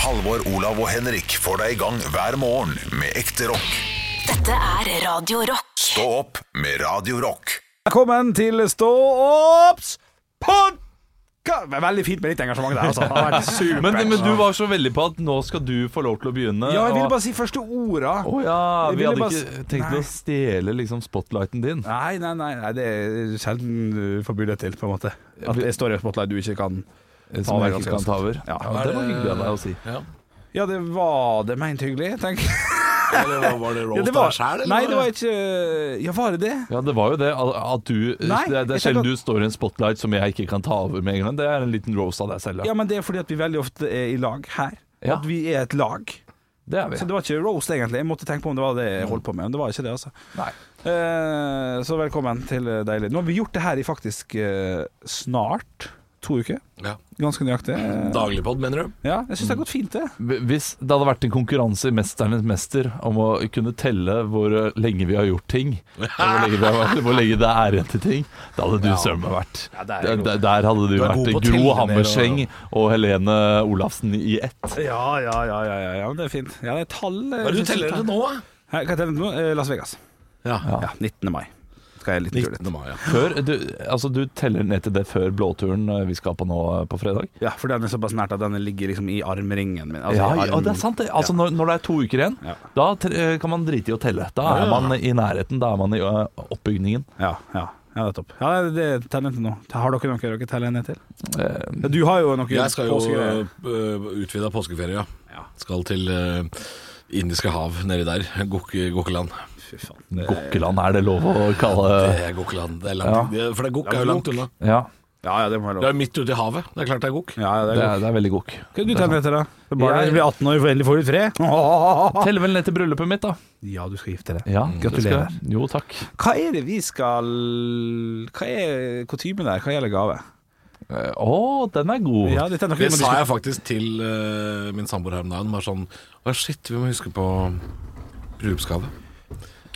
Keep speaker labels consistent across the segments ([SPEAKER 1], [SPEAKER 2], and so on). [SPEAKER 1] Halvor, Olav og Henrik får deg i gang hver morgen med ekte rock.
[SPEAKER 2] Dette er Radio Rock.
[SPEAKER 1] Stå opp med Radio Rock.
[SPEAKER 3] Velkommen til Stå opps pod... Veldig fint med litt engasjement der, altså. Det har vært supert.
[SPEAKER 4] Men, men du var så veldig på at nå skal du få lov til å begynne.
[SPEAKER 3] Ja, jeg ville
[SPEAKER 4] og-
[SPEAKER 3] bare si første orda.
[SPEAKER 4] Å ja,
[SPEAKER 3] Jeg
[SPEAKER 4] vi
[SPEAKER 3] ville
[SPEAKER 4] hadde
[SPEAKER 3] bare
[SPEAKER 4] ikke
[SPEAKER 3] s-
[SPEAKER 4] tenkt
[SPEAKER 3] Nei.
[SPEAKER 4] å stjele liksom spotlighten din.
[SPEAKER 3] Nei, nei, nei, nei, det er sjelden du får mulighet til, på en måte. At det står i et spotlight du ikke kan
[SPEAKER 4] Som
[SPEAKER 3] Ta
[SPEAKER 4] jeg
[SPEAKER 3] det
[SPEAKER 4] ikke kan
[SPEAKER 3] ganske
[SPEAKER 4] ta over.
[SPEAKER 3] Ja.
[SPEAKER 4] Ja, det var hyggelig av deg å si.
[SPEAKER 3] Ja, det var det meint hyggelig, tenk.
[SPEAKER 5] Eller var- var det
[SPEAKER 3] Ja,
[SPEAKER 5] roast
[SPEAKER 3] det
[SPEAKER 5] av
[SPEAKER 3] var,
[SPEAKER 5] deg sjæl,
[SPEAKER 3] nei, det var ikke Ja, var det det?
[SPEAKER 4] Ja, det var jo det. al- At du
[SPEAKER 3] Nei,
[SPEAKER 4] Det er, det er
[SPEAKER 3] jeg tenker-
[SPEAKER 4] sjelden du står i en spotlight som jeg ikke kan ta over med en gang. Det er en liten rose av deg selv, ja.
[SPEAKER 3] Ja, men det er fordi at vi veldig ofte er i lag her.
[SPEAKER 4] Ja.
[SPEAKER 3] At vi er et lag.
[SPEAKER 4] Det er
[SPEAKER 3] Så
[SPEAKER 4] vi.
[SPEAKER 3] det var ikke roast, egentlig. Jeg måtte tenke på om det var det jeg holdt på med, men det var ikke det, altså.
[SPEAKER 4] Nei.
[SPEAKER 3] Eh, Så velkommen til deilig. Nå har vi gjort det her i faktisk eh, snart to uker.
[SPEAKER 5] Ja.
[SPEAKER 3] Ganske nøyaktig. Eh,
[SPEAKER 5] Dagligpod, mener du?
[SPEAKER 3] Ja, jeg syns det har gått fint, det.
[SPEAKER 4] Hvis det hadde vært en konkurranse i 'Mesternes mester' om å kunne telle hvor eh, lenge vi har gjort ting, og hvor lenge, vi har, hvor lenge det er igjen til ting, da hadde du søren meg vært der, der, der hadde du,
[SPEAKER 5] Du er god på
[SPEAKER 4] vært
[SPEAKER 5] å telle
[SPEAKER 4] Gro
[SPEAKER 5] ned og-
[SPEAKER 4] Hammerseng og Helene Olafsen i ett.
[SPEAKER 3] Ja, ja, ja, ja, ja, ja men det er fint. Ja, det er tall. eh,
[SPEAKER 5] Hva er det du teller til nå, da?
[SPEAKER 3] Hva teller du nå? Eh, Las Vegas.
[SPEAKER 5] Ja.
[SPEAKER 3] Ja, 19. mai. Skal jeg litt tur litt.
[SPEAKER 5] 19. mai, ja.
[SPEAKER 4] Før, du, altså, du teller ned til det før blåturen eh, vi skal på nå eh, på fredag?
[SPEAKER 3] Ja, for den er såpass nært at den ligger liksom i armringen min. Altså,
[SPEAKER 4] ja,
[SPEAKER 3] i
[SPEAKER 4] ja,
[SPEAKER 3] armen.
[SPEAKER 4] det er sant. det. Altså, når, når det er to uker igjen,
[SPEAKER 3] Ja.
[SPEAKER 4] da tre- eh, kan man drite i å telle. Da er man i nærheten, da er man i eh, oppbygningen.
[SPEAKER 3] Ja, ja. Ja, det er topp. Ja, det er teller til nå. Har dere noe dere teller ned til?
[SPEAKER 4] Eh,
[SPEAKER 3] Ja, Du har jo noe
[SPEAKER 5] Jeg skal jo
[SPEAKER 3] påskegreier.
[SPEAKER 5] øh, utvida påskeferie, ja.
[SPEAKER 3] Ja.
[SPEAKER 5] Skal til øh, Indiske hav nedi der. Gok- Gokkeland.
[SPEAKER 3] Fy faen.
[SPEAKER 4] Gokkeland er det lov å kalle
[SPEAKER 5] Det er Gokkeland. Det er langt, det- For det er gokk er jo langt unna.
[SPEAKER 4] Ja,
[SPEAKER 3] Ja, ja, det må jeg
[SPEAKER 5] Det
[SPEAKER 3] lov.
[SPEAKER 5] er midt ute i havet. Det er klart det er gokk.
[SPEAKER 3] Ja, ja, det
[SPEAKER 4] det
[SPEAKER 3] er
[SPEAKER 4] er, det er veldig gokk.
[SPEAKER 3] Hva er det du teller etter, da? Det er bare
[SPEAKER 4] Jeg-
[SPEAKER 3] du blir 18 år og endelig får litt fred.
[SPEAKER 4] Teller vel ned til bryllupet mitt, da.
[SPEAKER 3] Ja, du skal gifte deg.
[SPEAKER 4] Ja,
[SPEAKER 3] gratulerer.
[SPEAKER 4] det skal- Jo, takk.
[SPEAKER 3] Hva er det vi skal Hva er kutymen der? Hva gjelder gave?
[SPEAKER 4] Eh, Å, den er god.
[SPEAKER 3] Ja, dette er noe vi
[SPEAKER 5] Det
[SPEAKER 3] må
[SPEAKER 5] sa
[SPEAKER 3] diskutere.
[SPEAKER 5] jeg faktisk til øh, min samboer her om dagen. Bare sånn Å, shit, vi må huske på bryllupsgave.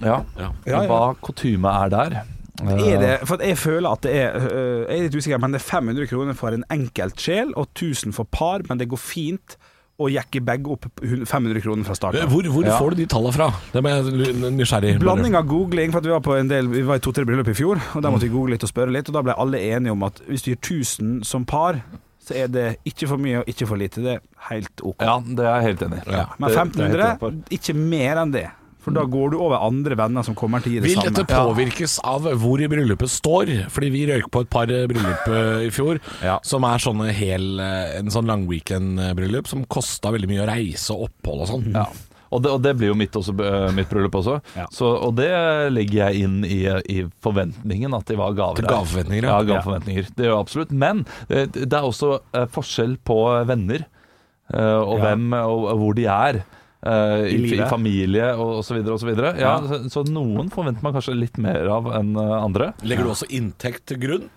[SPEAKER 4] Ja.
[SPEAKER 5] Ja.
[SPEAKER 3] Ja, ja.
[SPEAKER 4] Hva kutyme er der? Eh,
[SPEAKER 3] Er det, for at jeg føler at det er øh, Jeg er litt usikker, men det er 500 kroner for en enkelt sjel og 1000 for par, men det går fint å jekke begge opp 500 kroner fra starten.
[SPEAKER 5] Eh, Hvor, hvor
[SPEAKER 4] Ja.
[SPEAKER 5] får du de tallene fra? Det er jeg nysgjerrig på.
[SPEAKER 3] Blanding av googling, for at vi var på en del Vi var i to-tre bryllup i fjor, og
[SPEAKER 4] Mm.
[SPEAKER 3] der måtte vi google litt og spørre litt, og da ble alle enige om at hvis du gir 1000 som par, så er det ikke for mye og ikke for lite. Det er helt OK.
[SPEAKER 4] Ja, det er jeg helt enig i.
[SPEAKER 5] Ja.
[SPEAKER 3] Men
[SPEAKER 4] Det- det er helt
[SPEAKER 3] 1500, ikke mer enn det. For da går du over andre venner som kommer til å gi det
[SPEAKER 5] Vil
[SPEAKER 3] samme.
[SPEAKER 5] dette påvirkes av hvor i bryllupet står? Fordi vi røyk på et par eh, bryllup eh, i fjor,
[SPEAKER 3] Ja.
[SPEAKER 5] som er sånne hel, eh, en sånn langweekend-bryllup som kosta veldig mye å reise og opphold og sånn.
[SPEAKER 4] Ja. Og det, og det blir jo mitt, også, eh, mitt bryllup også.
[SPEAKER 3] Ja.
[SPEAKER 4] Så, og det legger jeg inn i, i forventningen at de var gaver.
[SPEAKER 5] Til
[SPEAKER 4] der.
[SPEAKER 5] gaveforventninger,
[SPEAKER 4] ja.
[SPEAKER 5] ja.
[SPEAKER 4] gaveforventninger. Det gjør jeg absolutt. Men eh, det er også eh, forskjell på venner, eh, og
[SPEAKER 3] Ja.
[SPEAKER 4] hvem og, og hvor de er. eh, i, I,
[SPEAKER 3] livet.
[SPEAKER 4] familie og osv. osv. Ja,
[SPEAKER 3] Ja.
[SPEAKER 4] så, så noen forventer man kanskje litt mer av enn eh, andre.
[SPEAKER 5] Legger du også inntekt til grunn?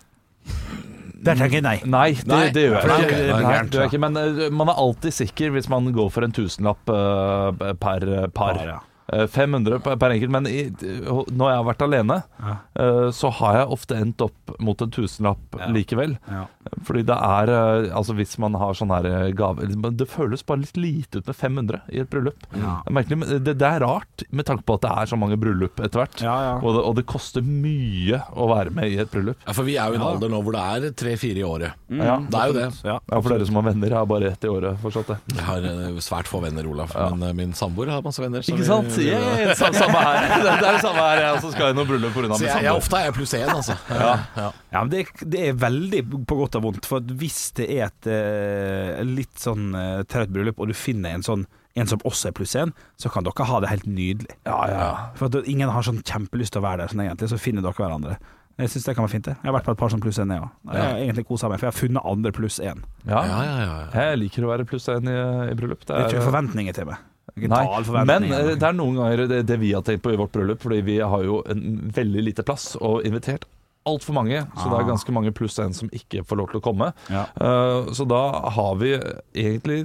[SPEAKER 3] Der tenker jeg nei.
[SPEAKER 4] Nei, det,
[SPEAKER 5] Nei.
[SPEAKER 4] det gjør jeg
[SPEAKER 5] Nei,
[SPEAKER 4] ikke.
[SPEAKER 5] ok, det er
[SPEAKER 4] Nei,
[SPEAKER 3] gærent,
[SPEAKER 4] det gjør jeg ikke. Men eh, man er alltid sikker hvis man går for en tusenlapp eh, per eh, par.
[SPEAKER 3] Par, ja.
[SPEAKER 4] Eh, 500 per per enkelt. Men i, når jeg har vært alene, eh, så har jeg ofte endt opp mot en tusenlapp likevel.
[SPEAKER 3] Ja.
[SPEAKER 4] Fordi det er eh, Altså hvis man har sånn her eh, gave liksom, Det føles bare litt lite ut med 500 i et bryllup.
[SPEAKER 3] Ja.
[SPEAKER 4] Det, er merkelig, men eh, det, det er rart med tanke på at det er så mange bryllup etter hvert.
[SPEAKER 3] Ja, ja.
[SPEAKER 4] Og, det, og det koster mye å være med i et bryllup.
[SPEAKER 5] Ja, for vi er jo i en alder nå hvor det er tre-fire i året.
[SPEAKER 3] Mm.
[SPEAKER 4] Ja.
[SPEAKER 5] Det er jo det.
[SPEAKER 3] Ja.
[SPEAKER 4] Ja, for dere som har venner, jeg har bare ett i året fortsatt. Det.
[SPEAKER 5] Jeg har eh, svært få venner, Olav, men eh, min samboer har masse venner. så
[SPEAKER 4] Ikke
[SPEAKER 5] vi-
[SPEAKER 4] sant?
[SPEAKER 5] vi-
[SPEAKER 4] Yeah, sa- samme her. Det det er det samme her. Jeg også skal i noe bryllup pga.
[SPEAKER 5] Så
[SPEAKER 4] min
[SPEAKER 5] jeg, jeg,
[SPEAKER 4] samboer.
[SPEAKER 5] ofte er jeg pluss én, altså. Ja.
[SPEAKER 3] Ja, men det, det er veldig på godt og vondt. For at hvis det er et eh, litt sånn eh, traut bryllup, og du finner en sånn en som også er pluss én, så kan dere ha det helt nydelig. For at da- ingen har sånn kjempelyst til å være der, sånn egentlig, så finner dere hverandre. Jeg syns det kan være fint, det. Jeg har vært på et par som pluss én, jeg òg. Jeg har egentlig kosa meg, for jeg har funnet andre pluss én.
[SPEAKER 4] Ja.
[SPEAKER 5] Ja, ja, ja, ja.
[SPEAKER 4] Jeg liker å være pluss én i, i bryllup. Det
[SPEAKER 3] Det er
[SPEAKER 4] er-
[SPEAKER 3] ikke forventninger til meg. Det er ikke tal
[SPEAKER 4] Nei, men
[SPEAKER 3] forventninger.
[SPEAKER 4] eh, det er noen ganger det, det vi har tenkt på i vårt bryllup, fordi vi har jo en veldig lite plass og invitert altfor mange, så
[SPEAKER 5] Ah.
[SPEAKER 4] det er ganske mange pluss én som ikke får lov til å komme.
[SPEAKER 3] Ja.
[SPEAKER 4] Eh, så da har vi egentlig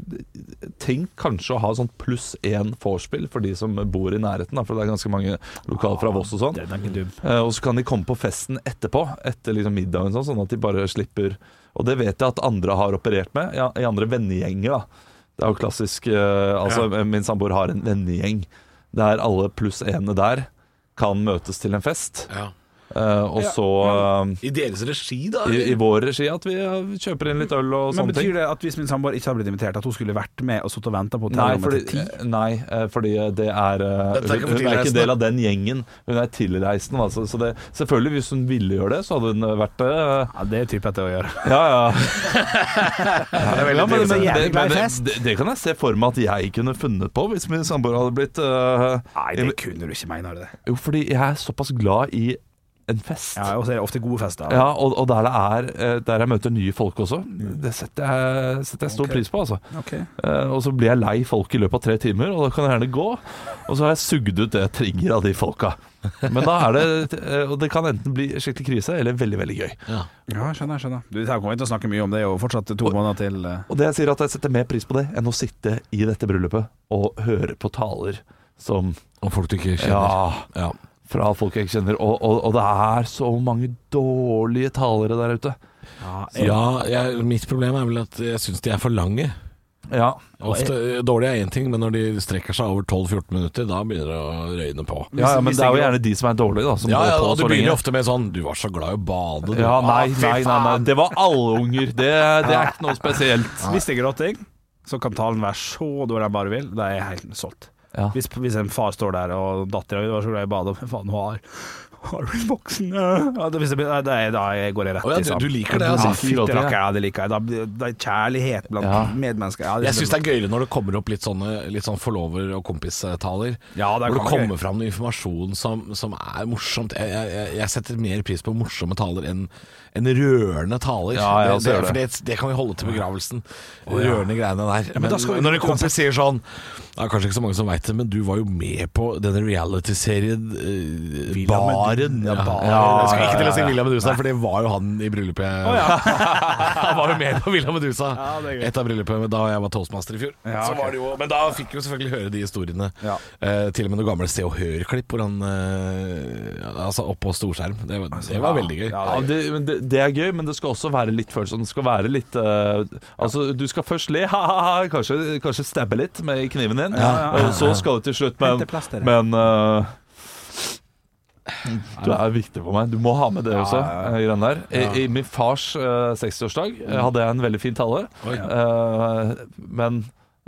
[SPEAKER 4] tenkt kanskje å ha sånn pluss én vorspiel for de som bor i nærheten, da, for det er ganske mange lokale
[SPEAKER 5] Ah,
[SPEAKER 4] fra Voss og sånn.
[SPEAKER 3] Den er ikke dum.
[SPEAKER 4] Eh, Og så kan de komme på festen etterpå, etter liksom middagen, sånn, sånn at de bare slipper Og det vet jeg at andre har operert med, ja, i andre vennegjenger. da Det er jo klassisk eh, Altså, min samboer har en vennegjeng der alle pluss ene der kan møtes til en fest.
[SPEAKER 5] Ja.
[SPEAKER 4] Eh, og så eh,
[SPEAKER 5] I deres regi, da?
[SPEAKER 4] i, i
[SPEAKER 5] eller?
[SPEAKER 4] vår regi at vi eh, kjøper inn litt øl og
[SPEAKER 3] Men
[SPEAKER 4] sånne ting.
[SPEAKER 3] betyr det at hvis min samboer ikke hadde blitt invitert, at hun skulle vært med og sittet og venta på
[SPEAKER 4] Nei
[SPEAKER 3] hotellrommet
[SPEAKER 4] fordi,
[SPEAKER 3] til ti?
[SPEAKER 4] nei, eh, fordi det er eh,
[SPEAKER 5] Dette er ikke
[SPEAKER 4] Hun hun er ikke
[SPEAKER 5] tilreisende.
[SPEAKER 4] del av den gjengen. Hun er tilreisende. Altså, så det, selvfølgelig, hvis hun ville gjøre det, så hadde hun vært det. eh,
[SPEAKER 3] Ja, det er type etter å gjøre.
[SPEAKER 4] Ja, ja. ja men,
[SPEAKER 3] trivelig.
[SPEAKER 4] men,
[SPEAKER 3] Jævlig
[SPEAKER 4] det,
[SPEAKER 3] glad i
[SPEAKER 4] men det,
[SPEAKER 3] fest.
[SPEAKER 4] det, det kan jeg se for meg at jeg kunne funnet på, hvis min samboer hadde blitt eh,
[SPEAKER 3] Nei, det
[SPEAKER 4] invi-
[SPEAKER 3] kunne du ikke mene, har du det?
[SPEAKER 4] Jo, fordi jeg er såpass glad i en fest.
[SPEAKER 3] Ja,
[SPEAKER 4] Ja,
[SPEAKER 3] og så er det ofte gode fester.
[SPEAKER 4] og, og der, det er, eh, der jeg møter nye folk også. Det setter jeg, setter jeg stor pris på, altså.
[SPEAKER 3] Ok.
[SPEAKER 4] Eh, Og så blir jeg lei folk i løpet av tre timer, og da kan jeg gjerne gå. Og så har jeg sugd ut det jeg trenger av de folka. Men da er det eh, Og det kan enten bli skikkelig krise eller veldig, veldig gøy.
[SPEAKER 3] Ja, skjønner, skjønner. Du, det her kommer vi til å snakke mye om, det er jo fortsatt to måneder til eh.
[SPEAKER 4] Og det jeg sier at jeg setter mer pris på det enn å sitte i dette bryllupet og høre på taler som
[SPEAKER 5] Om folk du ikke kjenner.
[SPEAKER 4] Ja,
[SPEAKER 5] Ja.
[SPEAKER 4] fra folk jeg ikke kjenner. Og, og, og det er så mange dårlige talere der ute.
[SPEAKER 5] Ja, jeg, mitt problem er vel at jeg syns de er for lange.
[SPEAKER 4] Ja.
[SPEAKER 5] Ofte, dårlig er én ting, men når de strekker seg over 12-14 minutter, da begynner det å røyne på.
[SPEAKER 4] Ja, ja, men det er jo gjerne de som er dårlige, da. Som
[SPEAKER 5] Ja, ja,
[SPEAKER 4] går på
[SPEAKER 5] og det
[SPEAKER 4] så
[SPEAKER 5] begynner
[SPEAKER 4] lenge.
[SPEAKER 5] ofte med sånn Du var så glad i å bade. du.
[SPEAKER 4] Ja, nei,
[SPEAKER 5] Ah, fy
[SPEAKER 4] nei, nei, nei.
[SPEAKER 5] faen.
[SPEAKER 4] Det var alle unger. Det, det er ikke noe spesielt.
[SPEAKER 3] Hvis det er gråting, så kan talen være så dårlig han bare vil. Da er jeg helt solgt.
[SPEAKER 4] Ja.
[SPEAKER 3] Hvis, hvis en far står der og dattera var så glad i badet, men faen, hun har Har blitt voksen ja. Ja, det, hvis det, blir- nei, da er- da er- går jeg rett
[SPEAKER 5] Å ja,
[SPEAKER 3] i sand.
[SPEAKER 5] du- du liker det, altså.
[SPEAKER 3] Ja, fytti rakker, ja, det liker jeg. Da, blir- da er kjærlighet blant
[SPEAKER 4] Ja.
[SPEAKER 3] medmennesker ja,
[SPEAKER 5] Jeg syns det er gøyere når det kommer opp litt sånne litt sånn forlover- og kompistaler.
[SPEAKER 3] Ja, det er
[SPEAKER 5] hvor det
[SPEAKER 3] konge.
[SPEAKER 5] kommer fram noe informasjon som, som er morsomt. Jeg, jeg, jeg- jeg setter mer pris på morsomme taler enn enn rørende taler.
[SPEAKER 4] Ja, jeg også gjør
[SPEAKER 5] det, det,
[SPEAKER 4] det.
[SPEAKER 5] for det, det kan vi holde til begravelsen. Rørende greiene der.
[SPEAKER 3] men
[SPEAKER 5] men
[SPEAKER 3] da skal vi-
[SPEAKER 5] når en kompis sier sånn Det er kanskje ikke så mange som veit det, men du var jo med på denne reality-serien eh, Baren.
[SPEAKER 3] Medusa.
[SPEAKER 5] Ja,
[SPEAKER 3] Baren.
[SPEAKER 5] jeg skal ikke til å si Villa Medusa, for det var jo han i bryllupet. han var jo med på Villa Medusa.
[SPEAKER 3] Ja, det er gøy.
[SPEAKER 5] Et av bryllupene da jeg var toastmaster i fjor.
[SPEAKER 3] Ja, ok.
[SPEAKER 5] så var det jo, men da fikk vi jo selvfølgelig høre de historiene.
[SPEAKER 3] Ja.
[SPEAKER 5] Eh, til og med noen gamle Se og Hør-klipp hvor han eh, Altså oppå storskjerm. Det, var- det var veldig gøy.
[SPEAKER 3] Ja,
[SPEAKER 4] Ja, det, men det, det er gøy, men det skal også være litt følsomt. Det skal være litt eh, Altså, du skal først le, ha-ha-ha, kanskje, kanskje stabbe litt med kniven din. Og så skal du til slutt, men,
[SPEAKER 3] Hente plasteret.
[SPEAKER 4] men eh, Du er viktig for meg. Du må ha med det også. eh, greiene der. I, I min fars eh, 60-årsdag eh, hadde jeg en veldig fin tale,
[SPEAKER 5] Oi.
[SPEAKER 4] eh, men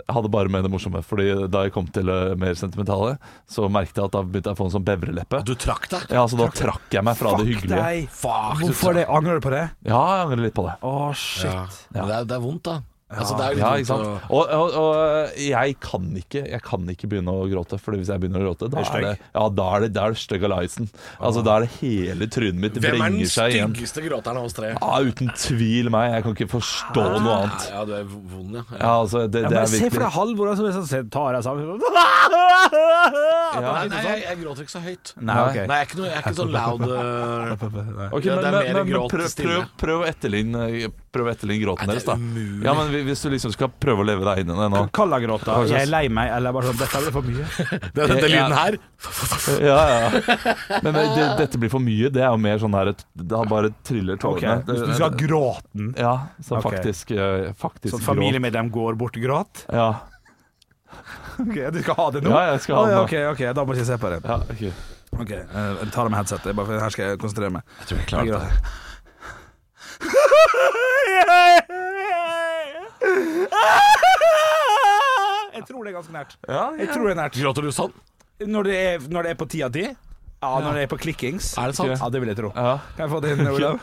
[SPEAKER 4] jeg hadde bare med det morsomme. Fordi da jeg kom til det mer sentimentale, så merket jeg at da begynte jeg å få en sånn bevreleppe.
[SPEAKER 5] Du trakk deg?
[SPEAKER 4] Ja, så da trakk jeg meg fra det
[SPEAKER 3] Fuck
[SPEAKER 4] hyggelige.
[SPEAKER 3] deg!
[SPEAKER 5] Fuck, du
[SPEAKER 3] Hvorfor
[SPEAKER 5] trakk-
[SPEAKER 3] det? Angrer du på det?
[SPEAKER 4] Ja, jeg angrer litt på det.
[SPEAKER 3] Å, shit.
[SPEAKER 5] Ja. Men Det, er, det er vondt, da. Altså, det er jo litt
[SPEAKER 4] Ja,
[SPEAKER 5] vondt
[SPEAKER 4] ikke sant?
[SPEAKER 5] å-
[SPEAKER 4] Og, og, og jeg kan ikke Jeg kan ikke begynne å gråte, Fordi hvis jeg begynner å gråte, da
[SPEAKER 3] Er du
[SPEAKER 4] er det, ja, da er det, da er det stygg alliansen. Altså, da er det hele trynet mitt
[SPEAKER 5] Hvem er den
[SPEAKER 4] vrenger seg igjen.
[SPEAKER 5] styggeste gråteren av oss tre?
[SPEAKER 4] Ja, uten tvil meg. Jeg kan ikke forstå noe
[SPEAKER 5] Ja,
[SPEAKER 4] annet.
[SPEAKER 5] ja, du er vond, Ah. ja.
[SPEAKER 4] Ja, altså, det,
[SPEAKER 3] Ja, men
[SPEAKER 4] det er
[SPEAKER 3] se for
[SPEAKER 4] virkelig
[SPEAKER 3] deg Halvor som liksom se- tar deg sammen
[SPEAKER 4] ja.
[SPEAKER 5] Nei, nei jeg, jeg gråter ikke så høyt.
[SPEAKER 3] Nei, ok.
[SPEAKER 5] Nei, jeg er ikke, noe, jeg er ikke sånn loud eh,
[SPEAKER 4] Ok,
[SPEAKER 5] Ja,
[SPEAKER 4] men,
[SPEAKER 5] det er
[SPEAKER 4] men,
[SPEAKER 5] mer
[SPEAKER 4] men,
[SPEAKER 5] gråt
[SPEAKER 4] prøv,
[SPEAKER 5] stille.
[SPEAKER 4] prøv, prøv å etterligne Prøv å etterligne gråten
[SPEAKER 5] Nei, det
[SPEAKER 4] deres,
[SPEAKER 5] er
[SPEAKER 4] da.
[SPEAKER 5] umulig.
[SPEAKER 4] Ja, men hvis du liksom skal prøve å leve deg inn i det nå
[SPEAKER 3] Kallagråta. Jeg er lei meg, eller bare sånn Dette blir for mye.
[SPEAKER 5] Den, den lyden
[SPEAKER 4] Ja.
[SPEAKER 5] her
[SPEAKER 4] Ja, ja. Men det, dette blir for mye. Det er jo mer sånn her Da bare triller
[SPEAKER 3] Ok,
[SPEAKER 4] tårene.
[SPEAKER 3] Hvis du skal gråte
[SPEAKER 4] Ja, så
[SPEAKER 3] Ok.
[SPEAKER 4] faktisk, eh, faktisk
[SPEAKER 3] Sånn
[SPEAKER 4] gråt.
[SPEAKER 3] familiemedlem går bort og gråt?
[SPEAKER 4] Ja.
[SPEAKER 3] Ok, Du skal ha det nå?
[SPEAKER 4] Ja, jeg skal ha
[SPEAKER 3] Å,
[SPEAKER 4] det
[SPEAKER 3] ja,
[SPEAKER 4] nå.
[SPEAKER 3] ok, ok, Da må jeg ikke se på det.
[SPEAKER 4] ja ok.
[SPEAKER 3] Ok, eh, Jeg tar av meg headsetet, bare for her skal jeg konsentrere meg.
[SPEAKER 5] Jeg tror jeg
[SPEAKER 3] Jeg
[SPEAKER 5] klarer det.
[SPEAKER 3] gråter. Jeg tror det er ganske nært.
[SPEAKER 4] Ja,
[SPEAKER 3] Jeg tror det er nært.
[SPEAKER 5] Gråter du sånn?
[SPEAKER 3] Når det er, når det er på ti av ti? Ja, når det er på klikkings?
[SPEAKER 5] Er det sant?
[SPEAKER 3] Ja, det vil jeg tro.
[SPEAKER 4] ja.
[SPEAKER 3] Kan jeg få det inn, Olav?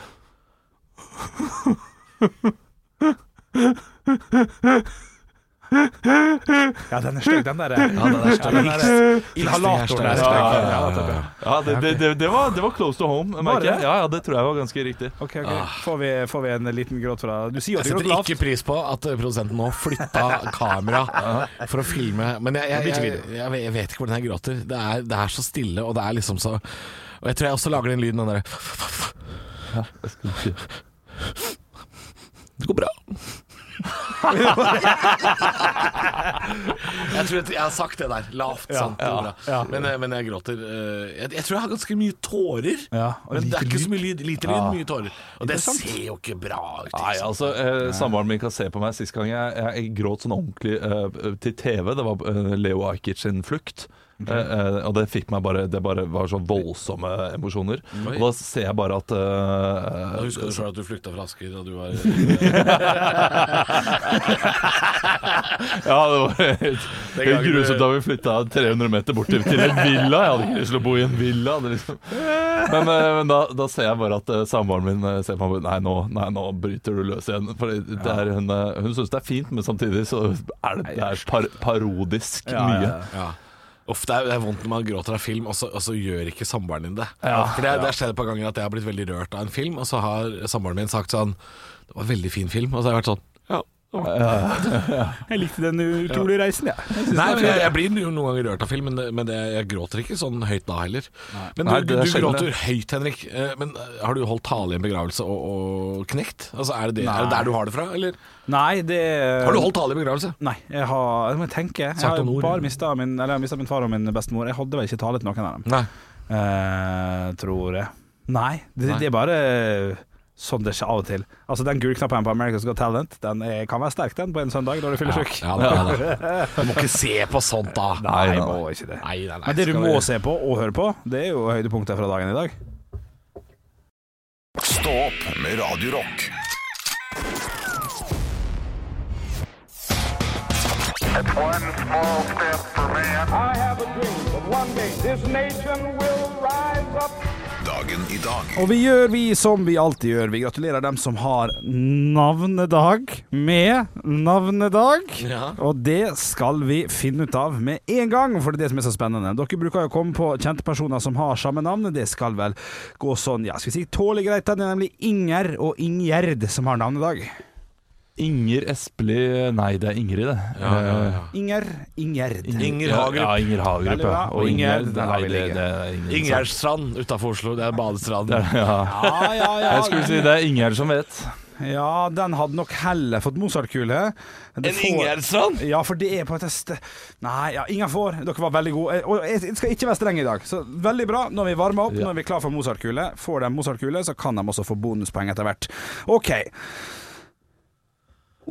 [SPEAKER 3] Ja, den er stygg, den der. Ja, den er stygg. Inhalatoren er
[SPEAKER 5] Ja, ja,
[SPEAKER 3] stygg.
[SPEAKER 5] ja, ja, ja.
[SPEAKER 4] ja det, det, det, det, var, det var close to home, merker jeg.
[SPEAKER 3] det?
[SPEAKER 4] Ja, ja, det tror jeg var ganske riktig.
[SPEAKER 3] Ok, ok. Får vi, får vi en liten gråt fra Du sier jo at
[SPEAKER 5] Ah. Jeg
[SPEAKER 3] du gråter
[SPEAKER 5] setter
[SPEAKER 3] lavt.
[SPEAKER 5] ikke pris på at eh, produsenten nå flytta kamera for å filme. Men jeg, jeg, jeg, jeg, vet- jeg vet ikke hvordan jeg gråter. Det er, det er så stille, og det er liksom så Og jeg tror jeg også lager den lyden, den derre Det går bra. Jeg tror jeg, jeg har sagt det der. Lavt, sant og bra. Men, eh, men jeg gråter. eh, Jeg, jeg tror jeg har ganske mye tårer.
[SPEAKER 3] Ja, og
[SPEAKER 5] men det
[SPEAKER 3] lite
[SPEAKER 5] er ikke så
[SPEAKER 3] lyd.
[SPEAKER 5] mye lyd. Lite lyd, mye tårer. Og det ser jo ikke bra ut. ikke
[SPEAKER 4] Nei,
[SPEAKER 5] sant?
[SPEAKER 4] altså, eh, Samboeren min kan se på meg. Sist gang jeg, jeg, jeg gråt sånn ordentlig eh, til TV, det var eh, Leo Ajkic sin 'Flukt'. Eh, eh, og det fikk meg bare Det bare var så voldsomme emosjoner. Og da ser jeg bare at eh,
[SPEAKER 5] Da husker du sjøl at du flykta fra Asker, og du var
[SPEAKER 4] Ja, det var helt,
[SPEAKER 5] Den
[SPEAKER 4] helt
[SPEAKER 5] gangen du-
[SPEAKER 4] grusomt da vi flytta 300 meter bort til til en villa. Jeg hadde ikke lyst til å bo i en villa. Det liksom. Men, eh, men da, da ser jeg bare at eh, samboeren min eh, ser på meg og bare, nei, nå, nei, nå bryter du løs igjen. For det det er, hun eh, hun syns det er fint, men samtidig så er det, det er par, parodisk
[SPEAKER 3] Ja, ja,
[SPEAKER 4] mye.
[SPEAKER 3] ja.
[SPEAKER 5] Ja. Uff, det er, det er vondt når man gråter av film, og så, og så gjør ikke samboeren din det. For Det det har skjedd et par ganger at jeg har blitt veldig rørt av en film, og så har samboeren min sagt sånn Det var en veldig fin film. Og så har jeg vært sånn ja.
[SPEAKER 3] Jeg likte den utrolige reisen, jeg. jeg. synes
[SPEAKER 5] Nei,
[SPEAKER 3] det
[SPEAKER 5] men
[SPEAKER 3] var
[SPEAKER 5] jeg,
[SPEAKER 3] fint.
[SPEAKER 5] jeg blir jo noen ganger rørt av film, men, det- men det, jeg gråter ikke sånn høyt da heller. Men du,
[SPEAKER 4] Nei, det
[SPEAKER 5] du,
[SPEAKER 4] er
[SPEAKER 5] du
[SPEAKER 4] sjelden det.
[SPEAKER 5] gråter høyt, Henrik. Eh, Men eh, har du holdt tale i en begravelse og, og knekt? Altså, er, det det, er det
[SPEAKER 3] Nei.
[SPEAKER 5] der du har det fra, eller?
[SPEAKER 3] Nei, det
[SPEAKER 5] Har du holdt tale i begravelse?
[SPEAKER 3] Nei, jeg har Jeg må tenke. Jeg
[SPEAKER 5] Sagt
[SPEAKER 3] har
[SPEAKER 5] noen ord.
[SPEAKER 3] bare mista min, eller jeg har mistet min far og min bestemor. Jeg hadde vel ikke tale til noen av dem.
[SPEAKER 5] Nei.
[SPEAKER 3] Eh, tror jeg. Nei, det,
[SPEAKER 5] Nei.
[SPEAKER 3] det er bare sånn det skjer av og til. Altså Den gullknappen på America's Got Talent Den er, kan være sterk, den, på en søndag når du fyller sjuk.
[SPEAKER 5] Ja, det er det. Du må ikke se på sånt, da.
[SPEAKER 3] Nei,
[SPEAKER 4] nei,
[SPEAKER 3] jeg må ikke det.
[SPEAKER 5] Nei, nei, nei.
[SPEAKER 3] Men det du
[SPEAKER 5] skal
[SPEAKER 3] må
[SPEAKER 5] vi-
[SPEAKER 3] se på og høre på, det er jo høydepunktet fra dagen i dag.
[SPEAKER 1] Stå opp med Radio Rock.
[SPEAKER 6] It's one small step for man.
[SPEAKER 7] I have a dream that one day this nation will rise up.
[SPEAKER 1] Dagen i dag.
[SPEAKER 3] Og vi gjør vi som vi alltid gjør. Vi gratulerer dem som har navnedag med navnedag.
[SPEAKER 5] Ja.
[SPEAKER 3] Og det skal vi finne ut av med en gang, for det er det som er så spennende. Dere bruker jo å komme på kjente personer som har samme navn. Det skal vel gå sånn, ja, skal vi si tålelig greit. da. Det er nemlig Inger og Ingjerd som har navnedag.
[SPEAKER 4] Inger Espelid Nei, det er Ingrid, det. Eh,
[SPEAKER 5] Ja, ja, ja.
[SPEAKER 3] Inger, Ingjerd.
[SPEAKER 5] Inger
[SPEAKER 4] Ja,
[SPEAKER 5] Hagerup.
[SPEAKER 4] Ja, Inger Hagerup,
[SPEAKER 3] Veldig
[SPEAKER 4] ja.
[SPEAKER 3] bra.
[SPEAKER 4] Og Inger,
[SPEAKER 3] Inger, den
[SPEAKER 4] nei,
[SPEAKER 3] har vi
[SPEAKER 4] det,
[SPEAKER 3] ligge.
[SPEAKER 4] det er Inger.
[SPEAKER 5] Ingjerdstrand utafor Oslo. Det er badestranden.
[SPEAKER 4] Ja.
[SPEAKER 3] Ja, ja, ja.
[SPEAKER 4] Jeg skulle si det er Inger som vet.
[SPEAKER 3] Ja, den hadde nok heller fått Mozart-kule. Det
[SPEAKER 5] En
[SPEAKER 3] får-
[SPEAKER 5] Ingjerdstrand?
[SPEAKER 3] Ja, for det er på et test Nei, ja, ingen får. Dere var veldig gode. Eh, Og jeg jeg skal ikke være streng i dag. Så veldig bra. Nå er vi varma opp,
[SPEAKER 4] Ja.
[SPEAKER 3] nå er vi klar for Mozart-kule. Får de Mozart-kule, så kan de også få bonuspoeng etter hvert. OK.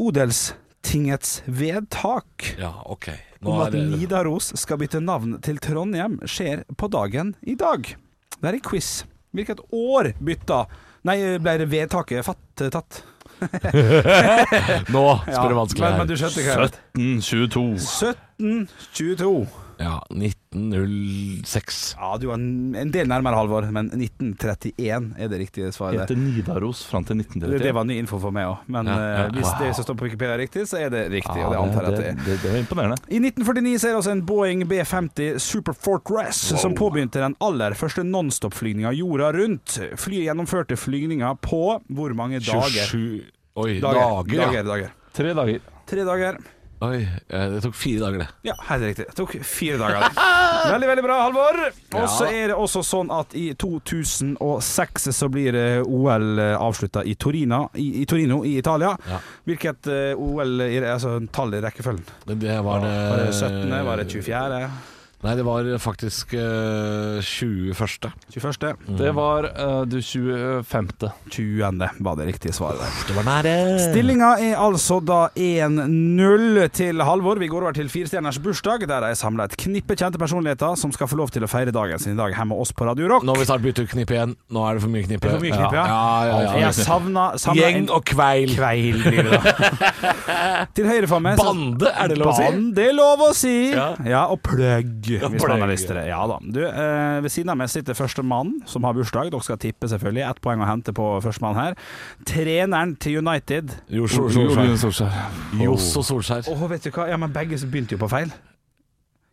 [SPEAKER 3] Odelstingets vedtak
[SPEAKER 5] Ja, ok. Nå
[SPEAKER 3] om
[SPEAKER 5] er
[SPEAKER 3] at
[SPEAKER 5] det
[SPEAKER 3] Nidaros skal bytte navn til Trondheim, skjer på dagen i dag. Det er en quiz. Hvilket år bytta Nei, ble det vedtaket fattatt?
[SPEAKER 5] Nå spør du vanskelig
[SPEAKER 3] men, men
[SPEAKER 5] her.
[SPEAKER 3] du skjønte hva jeg
[SPEAKER 4] 1722.
[SPEAKER 3] 1722.
[SPEAKER 5] Ja, 1906.
[SPEAKER 3] Ja, du var en en del nærmere, Halvor, men 1931 er det riktige svaret. der.
[SPEAKER 4] Heter Nidaros fram til
[SPEAKER 3] Det, det
[SPEAKER 4] 1930.
[SPEAKER 3] var ny info for meg òg, men
[SPEAKER 5] Ja, ja,
[SPEAKER 3] eh, hvis
[SPEAKER 5] wow.
[SPEAKER 3] det som står på Wikipedia er riktig, så er det riktig. og det antar jeg at det er.
[SPEAKER 4] det, var imponerende.
[SPEAKER 3] I 1949 så er det altså en Boeing B-50 Super Fortress som påbegynte den aller første nonstop-flygninga jorda rundt. Flyet gjennomførte flygninga på hvor mange dager?
[SPEAKER 5] 27 Oi,
[SPEAKER 3] Dager,
[SPEAKER 5] dager, ja.
[SPEAKER 3] dager, dager.
[SPEAKER 4] Tre dager.
[SPEAKER 3] Tre dager.
[SPEAKER 5] Oi, eh, det tok fire dager, det.
[SPEAKER 3] Ja, helt riktig. Det tok fire dager. det. Veldig, veldig bra, Halvor. Og så er det også sånn at i 2006 så blir eh, OL avslutta i, Torina- i, i Torino i Italia.
[SPEAKER 5] Ja.
[SPEAKER 3] Hvilket eh, OL i- Altså tall i rekkefølgen.
[SPEAKER 5] Det, det var det
[SPEAKER 3] Var det 17., var det 24.,
[SPEAKER 5] Nei, det var faktisk eh, 21.
[SPEAKER 3] 21.?
[SPEAKER 4] Det var eh, det 25.
[SPEAKER 3] 20. var det riktige svaret der.
[SPEAKER 5] Det var nære.
[SPEAKER 3] Stillinga er altså da 1-0 til Halvor. Vi går over til firestjerners bursdag, der jeg samla et knippe kjente personligheter som skal få lov til å feire dagen sin i dag hjemme hos oss på Radio Rock.
[SPEAKER 5] Nå har vi snart byttet ut knipp igjen. Nå er det for mye knipp.
[SPEAKER 3] Det er for mye knipp, ja.
[SPEAKER 5] ja, ja, ja.
[SPEAKER 3] Jeg savna, savna
[SPEAKER 5] Gjeng og kveil.
[SPEAKER 3] Kveil blir det da. Til høyre for meg så-
[SPEAKER 5] Bande, er det lov å si?
[SPEAKER 3] Band, det er lov å si! Ja,
[SPEAKER 4] Ja.
[SPEAKER 3] og pløgg, hvis man
[SPEAKER 4] pløgg.
[SPEAKER 3] har lyst til det. Ja da. Du, eh, ved siden av meg sitter førstemann som har bursdag. Dere skal tippe, selvfølgelig. Ett poeng å hente på førstemann her. Treneren til United.
[SPEAKER 5] Jo, Sol- Solskjær.
[SPEAKER 4] Solskjær. Solskjær.
[SPEAKER 5] Johs og Solskjær.
[SPEAKER 3] Åh, vet du hva? Ja, men begge begynte jo på feil.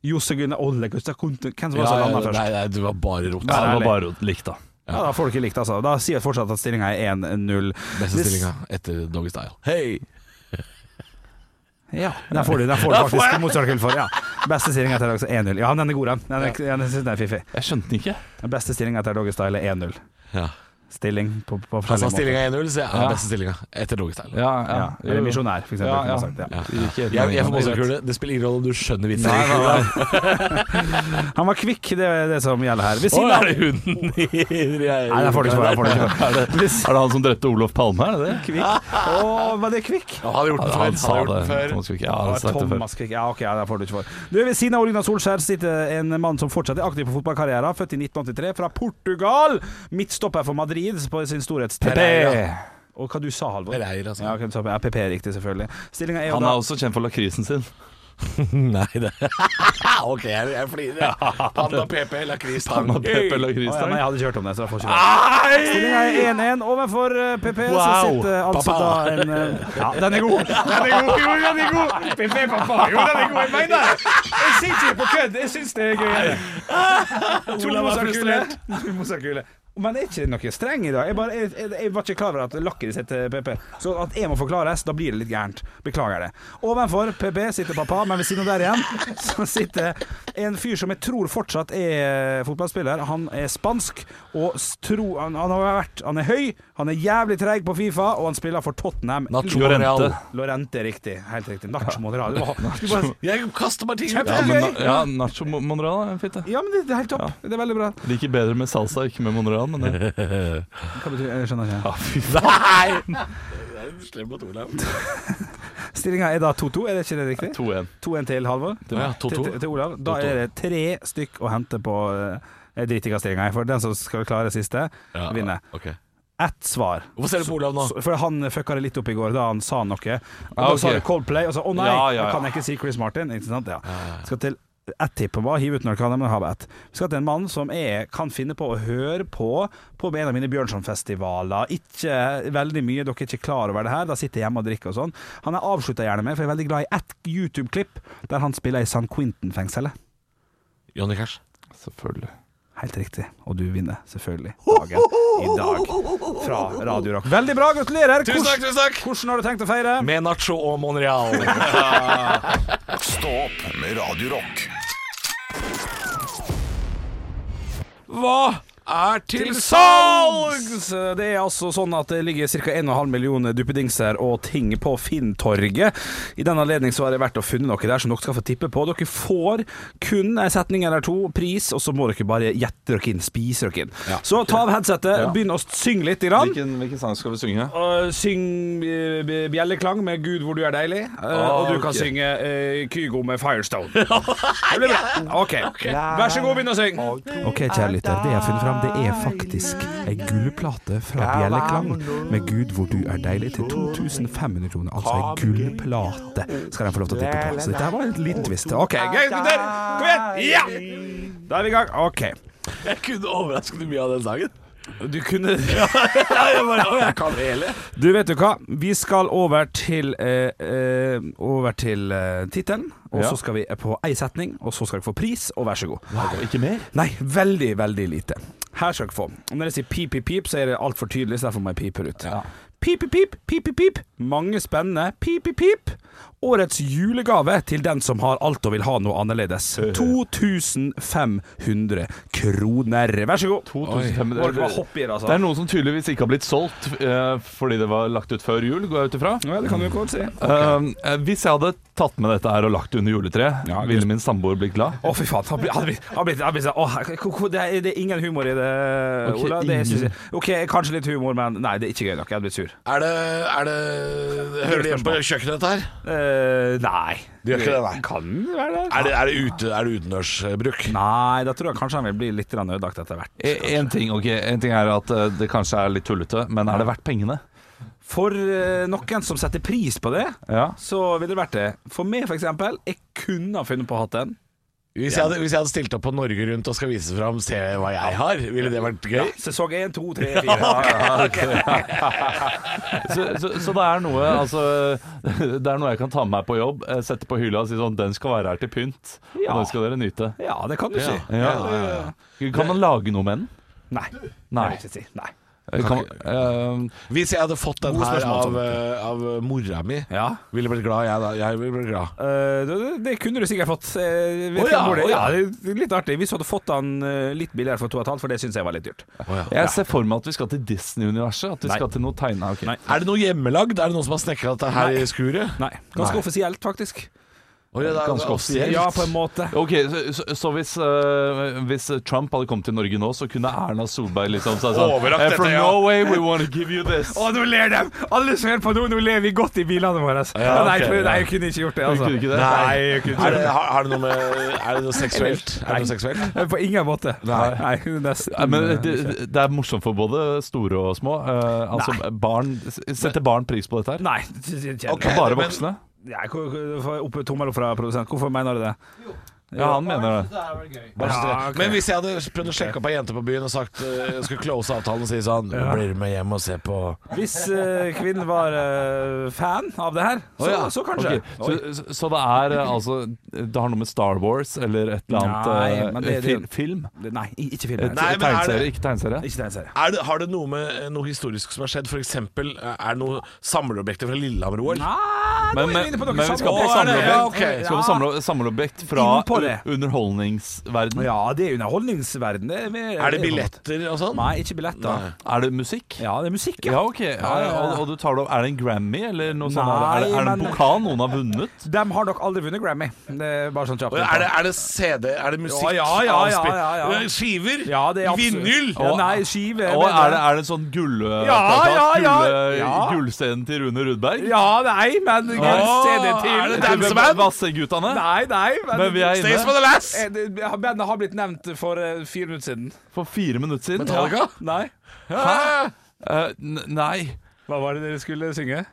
[SPEAKER 3] Josse Gunnar Olle Gustav Kontu- Hvem som var
[SPEAKER 5] Ja,
[SPEAKER 3] som
[SPEAKER 5] ja,
[SPEAKER 3] landa først?
[SPEAKER 5] nei, nei, du var bare rot.
[SPEAKER 4] Ja, det
[SPEAKER 3] Ærlig.
[SPEAKER 4] var bare likt, da.
[SPEAKER 3] Ja, da får du ikke likt, altså. Da sier jeg fortsatt at stillinga er 1-0.
[SPEAKER 5] Beste stillinga etter Doggy Style. Hei!
[SPEAKER 3] Ja, den får du, den får du faktisk motsvarkull for. Ja. Beste stillinga til dag, så 1-0. Ja, den er god, den. Den er, den er, den er fiffig.
[SPEAKER 4] Jeg skjønte den ikke.
[SPEAKER 3] Den Beste stillinga til Doggy Style er 1-0.
[SPEAKER 5] Ja.
[SPEAKER 3] stilling på, på
[SPEAKER 5] Han sa
[SPEAKER 3] forskjellige
[SPEAKER 5] stillinga
[SPEAKER 3] måter.
[SPEAKER 5] 1-0, så jeg Altså, er
[SPEAKER 4] Ja.
[SPEAKER 5] beste stillinga. Etter Dogstyle.
[SPEAKER 4] Ja,
[SPEAKER 3] Ja, eller misjonær, for eksempel.
[SPEAKER 4] Ja,
[SPEAKER 3] kunne
[SPEAKER 4] ja.
[SPEAKER 3] jeg Sagt, ja.
[SPEAKER 4] Ikke-
[SPEAKER 5] Jeg, jeg får målsekule. Det spiller ingen rolle om du skjønner vitsen.
[SPEAKER 4] Nei, nei, nei.
[SPEAKER 3] Han var kvikk, det er det som gjelder her. Ved
[SPEAKER 5] Å,
[SPEAKER 3] siden av
[SPEAKER 5] er det hunden i
[SPEAKER 3] Nei, det får du ikke svare for. det får du ikke
[SPEAKER 4] Er
[SPEAKER 3] svare.
[SPEAKER 4] det han som drepte Olof Palme? Er det det?
[SPEAKER 3] Kvikk. Å, var det Kvikk?
[SPEAKER 5] Han har gjort det før. Han har gjort det før.
[SPEAKER 4] Thomas Quick. Ja,
[SPEAKER 3] Ja,
[SPEAKER 4] han har sagt det før.
[SPEAKER 3] Thomas Quick. Ja, ok, ja, det får du ikke for. Du, Ved siden av Ole Gunnar Solskjær sitter en mann som fortsatt er aktiv på fotballkarrieren. Født i 1983, fra Portugal. Midtstopper for Madrid på sin storhetstid.
[SPEAKER 5] Pereira.
[SPEAKER 3] Og hva du sa, Halvor?
[SPEAKER 5] Pereira, sa jeg.
[SPEAKER 3] ja, ok, du sa, ja, PP er riktig, selvfølgelig. Stillinga er jo
[SPEAKER 4] Han
[SPEAKER 3] da
[SPEAKER 4] er også kjent for lakrisen sin.
[SPEAKER 5] Nei, det Ok, jeg, jeg flirer. jeg. Panda PP, lakris,
[SPEAKER 4] Han
[SPEAKER 5] tang.
[SPEAKER 4] har pepper
[SPEAKER 3] Å,
[SPEAKER 4] lakris
[SPEAKER 3] ja, nei,
[SPEAKER 4] der.
[SPEAKER 3] jeg hadde ikke hørt om det, så jeg får ikke det. Stillinga er 1-1 overfor eh, PP. Så
[SPEAKER 5] Wow.
[SPEAKER 3] sitter eh, altså
[SPEAKER 5] Papa.
[SPEAKER 3] da en eh, Ja, den er god! Den er god, jo, den er god! PP, pappa. Jo, den er god. Jeg mener det! Jeg sier ikke på kødd. Jeg syns det er gøy.
[SPEAKER 5] Olav er frustrert.
[SPEAKER 3] To mosakule. Men er ikke noe streng i dag? Jeg, bare, jeg, jeg, jeg var ikke klar over at lakkeret sitter PP. Så at jeg må forklares, da blir det litt gærent. Beklager det. Ovenfor PP sitter pappa, men ved siden av der igjen så sitter en fyr som jeg tror fortsatt er fotballspiller. Han er spansk, og s- tro, han, han har vært Han er høy, han er jævlig treig på Fifa, og han spiller for Tottenham.
[SPEAKER 5] Nacho
[SPEAKER 4] Llorente.
[SPEAKER 5] Monreal.
[SPEAKER 3] Lorente, riktig. Helt riktig. Nacho Monreal. Det var- skulle bare-
[SPEAKER 5] Jeg kaster meg ting.
[SPEAKER 4] Ja, men,
[SPEAKER 3] Ok.
[SPEAKER 4] ja, Nacho Mo- Monreal er fint, det.
[SPEAKER 3] Ja, men det, det er helt topp. Det er veldig bra.
[SPEAKER 4] Liker bedre med salsa, ikke med Monreal, men det Ah,
[SPEAKER 3] Hva betyr Jeg skjønner ikke.
[SPEAKER 5] Nei! Slem mot Olav.
[SPEAKER 3] Stillinga er da 2-2, er det ikke det riktig?
[SPEAKER 4] 2-1.
[SPEAKER 3] 2-1 til Halvor.
[SPEAKER 5] Ja,
[SPEAKER 3] Til,
[SPEAKER 5] 2-2.
[SPEAKER 3] til- til Olav. Da
[SPEAKER 5] 2-2.
[SPEAKER 3] er det tre stykk å hente på eh, Jeg driter i hva stillinga er, for den som skal klare siste,
[SPEAKER 5] Ja,
[SPEAKER 3] vinner.
[SPEAKER 5] ok.
[SPEAKER 3] Ett svar.
[SPEAKER 5] Hvorfor ser du på Olav nå?
[SPEAKER 3] Så- For han fucka det litt opp i går da han sa noe. Og Da
[SPEAKER 4] Ah, ok.
[SPEAKER 3] sa det Coldplay, og så å nei,
[SPEAKER 4] Ja, ja,
[SPEAKER 3] da kan
[SPEAKER 4] ja.
[SPEAKER 3] jeg ikke si Chris Martin. Ikke sant? Ja. Skal til ett tipp, og bare hive ut når du kan, men ha bare ett. Vi skal til en mann som jeg kan finne på å høre på på en av mine Bjørnson-festivaler. Ikke veldig mye, dere er ikke klar over det her. Da sitter jeg hjemme og drikker og sånn. Han er avslutta gjerne med, for jeg er veldig glad i ett YouTube-klipp der han spiller i San Quentin-fengselet.
[SPEAKER 5] Johnny Cash.
[SPEAKER 4] Selvfølgelig.
[SPEAKER 3] Helt riktig. Og du vinner selvfølgelig dagen i dag fra Radio Rock. Veldig bra, gratulerer!
[SPEAKER 5] Tusen takk, tusen takk!
[SPEAKER 3] Hvordan har du tenkt å feire?
[SPEAKER 5] Med Nacho og Monreal.
[SPEAKER 1] Stå opp med Radio Rock.
[SPEAKER 5] Hva er til salgs?
[SPEAKER 3] Det er altså sånn at det ligger ca. 1,5 millioner duppedingser og ting på Finntorget. I den anledning så har jeg vært og funnet noe der som dere skal få tippe på. Dere får kun en setning eller to, pris, og så må dere bare gjette dere inn, spise dere inn. så ta av headsetet, begynn å synge litt. Grann.
[SPEAKER 4] Hvilken, hvilken sang skal vi synge?
[SPEAKER 3] Og syng eh, b- bjelleklang med 'Gud, hvor du er deilig'. eh,
[SPEAKER 4] Ah,
[SPEAKER 3] og du kan synge eh, Kygo med 'Firestone'. Det blir bra. OK. Vær så god, begynn å synge. OK, kjære lytter. Det jeg har funnet fram, det er faktisk ei gullplate fra Bjelleklang med 'Gud, hvor du er deilig' til 2500 kroner. Altså ei gullplate skal de få lov til å tippe på. Så dette her var en liten twist. OK, gøy gutter. Kom igjen. Ja! Da er vi i gang. OK.
[SPEAKER 5] Jeg kunne overraskende mye av den sangen.
[SPEAKER 3] Du kunne
[SPEAKER 5] Jeg bare, å, jeg kan det hele.
[SPEAKER 3] Du, vet du hva? Vi skal over til eh, eh, Over til eh, tittelen. Og
[SPEAKER 4] Ja.
[SPEAKER 3] så skal vi på ei setning, og så skal dere få pris, og vær så god.
[SPEAKER 4] Ikke mer?
[SPEAKER 3] Nei, veldig, veldig lite. Her skal dere få. Og når jeg sier pip, pip, pip, så er det altfor tydelig, så derfor må jeg pipe det ut. Pip, pip, pip, pip, pip, pip. Mange spennende. Pip, pip, pip. Årets julegave til den som har alt og vil ha noe annerledes. 2500 kroner. Vær så god.
[SPEAKER 4] 2500
[SPEAKER 3] Må dere bare hoppe i det, altså.
[SPEAKER 4] Det er noen som tydeligvis ikke har blitt solgt eh, fordi det var lagt ut før jul, går jeg ut ifra.
[SPEAKER 3] Ja, det kan du jo godt si.
[SPEAKER 4] Eh, hvis jeg hadde tatt med dette her og lagt det under juletreet,
[SPEAKER 3] Ja,
[SPEAKER 4] ville min samboer blitt glad?
[SPEAKER 3] Å, fy faen. Han blir, han blir, han blir, han blir sånn åh, ko- ko- det, er, det er ingen humor i det,
[SPEAKER 4] Ok,
[SPEAKER 3] Ola. Det
[SPEAKER 4] ingen.
[SPEAKER 3] synes jeg, OK, kanskje litt humor, men nei, det er ikke gøy nok. Jeg hadde blitt sur.
[SPEAKER 5] Er det, er det Hører det hjemme på kjøkkenet, dette her?
[SPEAKER 3] Eh, nei.
[SPEAKER 5] Det gjør ikke det, nei.
[SPEAKER 3] Kan det være det?
[SPEAKER 5] Er det, er det, ute, er det utendørsbruk?
[SPEAKER 3] Nei, da tror jeg kanskje han vil bli litt grann ødelagt etter hvert.
[SPEAKER 4] Én ting, ok, E, en ting er at eh, det kanskje er litt tullete, men er det verdt pengene?
[SPEAKER 3] For eh, noen som setter pris på det,
[SPEAKER 4] Ja.
[SPEAKER 3] så ville det vært det. For meg, for eksempel, jeg kunne ha funnet på å ha den.
[SPEAKER 5] Hvis jeg, hadde, hvis jeg hadde stilt opp på Norge Rundt og skal vise fram se hva jeg har, ville det vært gøy?
[SPEAKER 3] Sesong 1, 2, 3, 4
[SPEAKER 4] Så, så, så det er noe altså, Det er noe jeg kan ta med meg på jobb, eh, sette på hylla og si sånn Den skal være her til pynt,
[SPEAKER 3] Ja.
[SPEAKER 4] og den skal dere nyte.
[SPEAKER 3] Ja, det kan du si.
[SPEAKER 4] Ja. Kan man lage noe med den?
[SPEAKER 3] Nei.
[SPEAKER 4] Nei.
[SPEAKER 3] Det vil jeg ikke si. Nei.
[SPEAKER 4] Kan, eh,
[SPEAKER 5] Hvis jeg hadde fått den
[SPEAKER 3] God
[SPEAKER 5] her
[SPEAKER 3] spørsmål,
[SPEAKER 5] av, eh, av mora mi,
[SPEAKER 3] Ja.
[SPEAKER 5] ville jeg blitt glad jeg da. Jeg ville blitt glad.
[SPEAKER 3] Eh, det, det kunne du sikkert fått. Eh, vet
[SPEAKER 4] Å
[SPEAKER 3] ikke
[SPEAKER 4] ja,
[SPEAKER 3] hvor det,
[SPEAKER 4] å ja.
[SPEAKER 3] ja, det er litt artig. Hvis du hadde fått den eh, litt billigere for 2,5, for det syns jeg var litt dyrt.
[SPEAKER 4] jeg ser for meg at vi skal til Disney-universet. At vi
[SPEAKER 3] Nei.
[SPEAKER 4] skal til noe tegna. ok.
[SPEAKER 3] Nei.
[SPEAKER 5] Er det noe hjemmelagd? Er det noen som har snekra dette her
[SPEAKER 3] Nei.
[SPEAKER 5] i skuret?
[SPEAKER 3] Nei. Ganske
[SPEAKER 5] Nei.
[SPEAKER 3] offisielt, faktisk.
[SPEAKER 5] Oi, det er
[SPEAKER 4] Ganske offisielt.
[SPEAKER 3] Ja, på en måte.
[SPEAKER 4] Ok, så, så, så hvis, eh, hvis Trump hadde kommet til Norge nå, så kunne Erna Solberg liksom sagt sånn
[SPEAKER 5] Overrakt
[SPEAKER 4] eh,
[SPEAKER 5] dette,
[SPEAKER 4] From
[SPEAKER 5] ja.
[SPEAKER 4] Norway, we want to give you this.
[SPEAKER 3] Å, nå ler de! Alle som hører på nå, nå ler vi godt i bilene våre.
[SPEAKER 4] Ja,
[SPEAKER 3] nei, jeg kunne- nei,
[SPEAKER 4] ok, ja.
[SPEAKER 3] jeg kunne ikke gjort det,
[SPEAKER 4] Du
[SPEAKER 3] altså.
[SPEAKER 4] kunne ikke det?
[SPEAKER 3] Nei, jeg kunne ikke
[SPEAKER 5] Er det,
[SPEAKER 3] gjort det.
[SPEAKER 5] har, har det noe med Er det noe seksuelt? Er det noe seksuelt?
[SPEAKER 3] Eh, På ingen måte.
[SPEAKER 5] Nei.
[SPEAKER 3] nei eh, nesten.
[SPEAKER 4] Nei, Men det,
[SPEAKER 3] ikke.
[SPEAKER 4] det er morsomt for både store og små. Eh, altså, barn, Setter barn pris på dette her?
[SPEAKER 3] Nei, det- det-
[SPEAKER 5] Ok.
[SPEAKER 4] Det er bare
[SPEAKER 5] men-
[SPEAKER 4] voksne?
[SPEAKER 3] Nei, hvor- hvor- får jeg opp tommel fra produsent. Hvorfor mener du det?
[SPEAKER 4] Ja, han mener det.
[SPEAKER 5] Bare så
[SPEAKER 3] Ja,
[SPEAKER 5] det-
[SPEAKER 3] ok.
[SPEAKER 5] Men hvis jeg hadde prøvd å sjekke opp ei jente på byen og sagt eh, Jeg skulle close avtalen og si sånn Blir du med hjem og se på
[SPEAKER 3] Hvis eh, kvinnen var eh, fan av det her, så, så kanskje.
[SPEAKER 4] Ok, Så, så- så det er eh, altså Det har noe med Star Wars eller et eller annet
[SPEAKER 3] Nei,
[SPEAKER 4] eh,
[SPEAKER 3] men det- det-
[SPEAKER 4] fil, Film?
[SPEAKER 3] Oi. Nei, i- ikke
[SPEAKER 4] Et,
[SPEAKER 3] film.
[SPEAKER 5] Nei, men er
[SPEAKER 4] tegneserie,
[SPEAKER 5] det-
[SPEAKER 4] ikke tegneserie?
[SPEAKER 3] Ikke den serien.
[SPEAKER 5] er det, Har det noe med eh, noe historisk som har skjedd? For eksempel, eh, er det noe samlerobjekter fra Lillehammer-OL?
[SPEAKER 3] Ah, nå
[SPEAKER 4] Men,
[SPEAKER 3] er vi
[SPEAKER 4] men,
[SPEAKER 3] inne på
[SPEAKER 4] men
[SPEAKER 3] noe
[SPEAKER 4] vi skal på
[SPEAKER 3] samleobjekt.
[SPEAKER 5] samleobjekt. Ja,
[SPEAKER 4] samleobjekt
[SPEAKER 5] ok.
[SPEAKER 4] Skal på samle- samleobjekt fra
[SPEAKER 3] Inn på det.
[SPEAKER 4] underholdningsverden
[SPEAKER 3] Ja, det er underholdningsverden. Det er,
[SPEAKER 5] Er det billetter og sånn?
[SPEAKER 3] Nei, ikke billetter.
[SPEAKER 4] Er det musikk?
[SPEAKER 3] Ja, Eh, det er musikk,
[SPEAKER 4] Ja, ok
[SPEAKER 3] ja, ja.
[SPEAKER 4] Og, og du tar det opp Er det en Grammy eller noe sånt?
[SPEAKER 3] Nei,
[SPEAKER 4] Er det, er det en
[SPEAKER 3] men-
[SPEAKER 4] pokal noen har vunnet?
[SPEAKER 3] De har nok aldri vunnet Grammy. Det er bare sånn kjapt.
[SPEAKER 5] Er det, er det CD? Er det
[SPEAKER 3] Ja,
[SPEAKER 5] musikk?
[SPEAKER 3] ja, ja, ja,
[SPEAKER 5] Avspill-
[SPEAKER 3] ja, ja.
[SPEAKER 5] Eh, Skiver?
[SPEAKER 3] Ja, det er absolutt-
[SPEAKER 5] Vinyl?
[SPEAKER 3] Ja, nei, skive.
[SPEAKER 4] Og er det, er det en sånn gull
[SPEAKER 3] ja, ja.
[SPEAKER 4] gulle-
[SPEAKER 3] Ja.
[SPEAKER 4] Gullscenen til Rune Rudberg?
[SPEAKER 3] Ja, nei, men
[SPEAKER 4] Åh,
[SPEAKER 3] CD til.
[SPEAKER 5] er det
[SPEAKER 4] Til
[SPEAKER 5] danseband?
[SPEAKER 4] Vassegutane?
[SPEAKER 3] Nei, nei, men,
[SPEAKER 4] Men vi er
[SPEAKER 5] Stays for
[SPEAKER 4] inne
[SPEAKER 5] the lass!
[SPEAKER 3] Eh, det- Bandet har blitt nevnt for eh, fire minutter siden.
[SPEAKER 4] for fire minutter siden
[SPEAKER 5] Metallica?
[SPEAKER 3] Nei.
[SPEAKER 4] Ja. Hæ? Eh, n- nei
[SPEAKER 3] Hva var det dere skulle synge?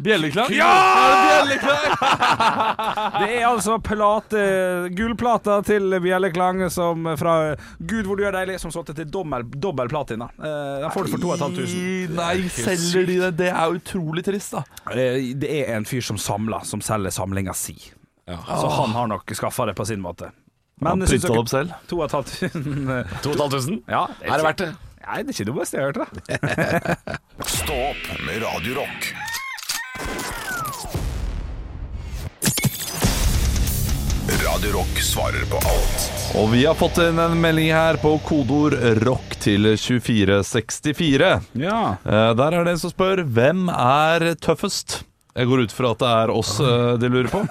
[SPEAKER 4] Bjelleklang? Ja! Bjelleklang?
[SPEAKER 3] Det er altså plate, gullplata til Bjelleklang som eh, fra Gud hvor du er deilig, som solgte til dommel, dobbel platina. Eh, Den får du for 2500.
[SPEAKER 4] I- Nei, selger de det? Det er utrolig trist da
[SPEAKER 3] Eh, Det er en fyr som samler, som selger samlinga si. Så han har nok skaffa det på sin måte.
[SPEAKER 4] Han
[SPEAKER 3] jeg synes
[SPEAKER 4] pyntet
[SPEAKER 3] dere-
[SPEAKER 4] opp selv.
[SPEAKER 3] To og et halvt tusen.
[SPEAKER 5] 2500?
[SPEAKER 3] Ja,
[SPEAKER 5] Er det verdt det?
[SPEAKER 3] Nei, det er ikke det beste jeg har hørt, da.
[SPEAKER 1] Stå opp med Radio Rock. Radio Rock svarer på alt.
[SPEAKER 4] Og vi har fått inn en melding her på kodord rock til 2464.
[SPEAKER 3] Ja.
[SPEAKER 4] Eh, Der er det en som spør hvem er tøffest? Jeg går ut fra at det er oss eh, de lurer på.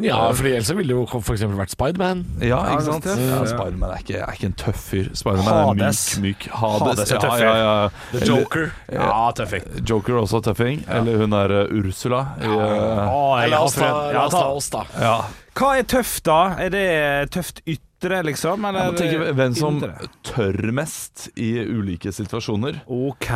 [SPEAKER 5] Ja, for ellers ville det jo f.eks. vært Spiderman.
[SPEAKER 4] Ja,
[SPEAKER 3] Ja,
[SPEAKER 4] ikke sant?
[SPEAKER 3] det er tøff.
[SPEAKER 4] Ja, Spiderman er, ikke- er ikke en tøff fyr. Spiderman er myk,
[SPEAKER 3] Hades.
[SPEAKER 4] myk. Hades,
[SPEAKER 3] Hades er
[SPEAKER 4] ja,
[SPEAKER 3] tøff,
[SPEAKER 4] ja, ja.
[SPEAKER 5] The Joker.
[SPEAKER 3] Ja, tøffing.
[SPEAKER 4] Eller- Joker er også tøffing. Eller hun er eh, Ursula. i, eh,
[SPEAKER 5] Eller la oss ta, la oss, ta oss da.
[SPEAKER 4] ja.
[SPEAKER 3] Hva er tøft, da? Er det tøft ytre, liksom? Eller
[SPEAKER 4] Jeg må tenke hvem som
[SPEAKER 3] indre?
[SPEAKER 4] tør mest i ulike situasjoner.
[SPEAKER 3] OK,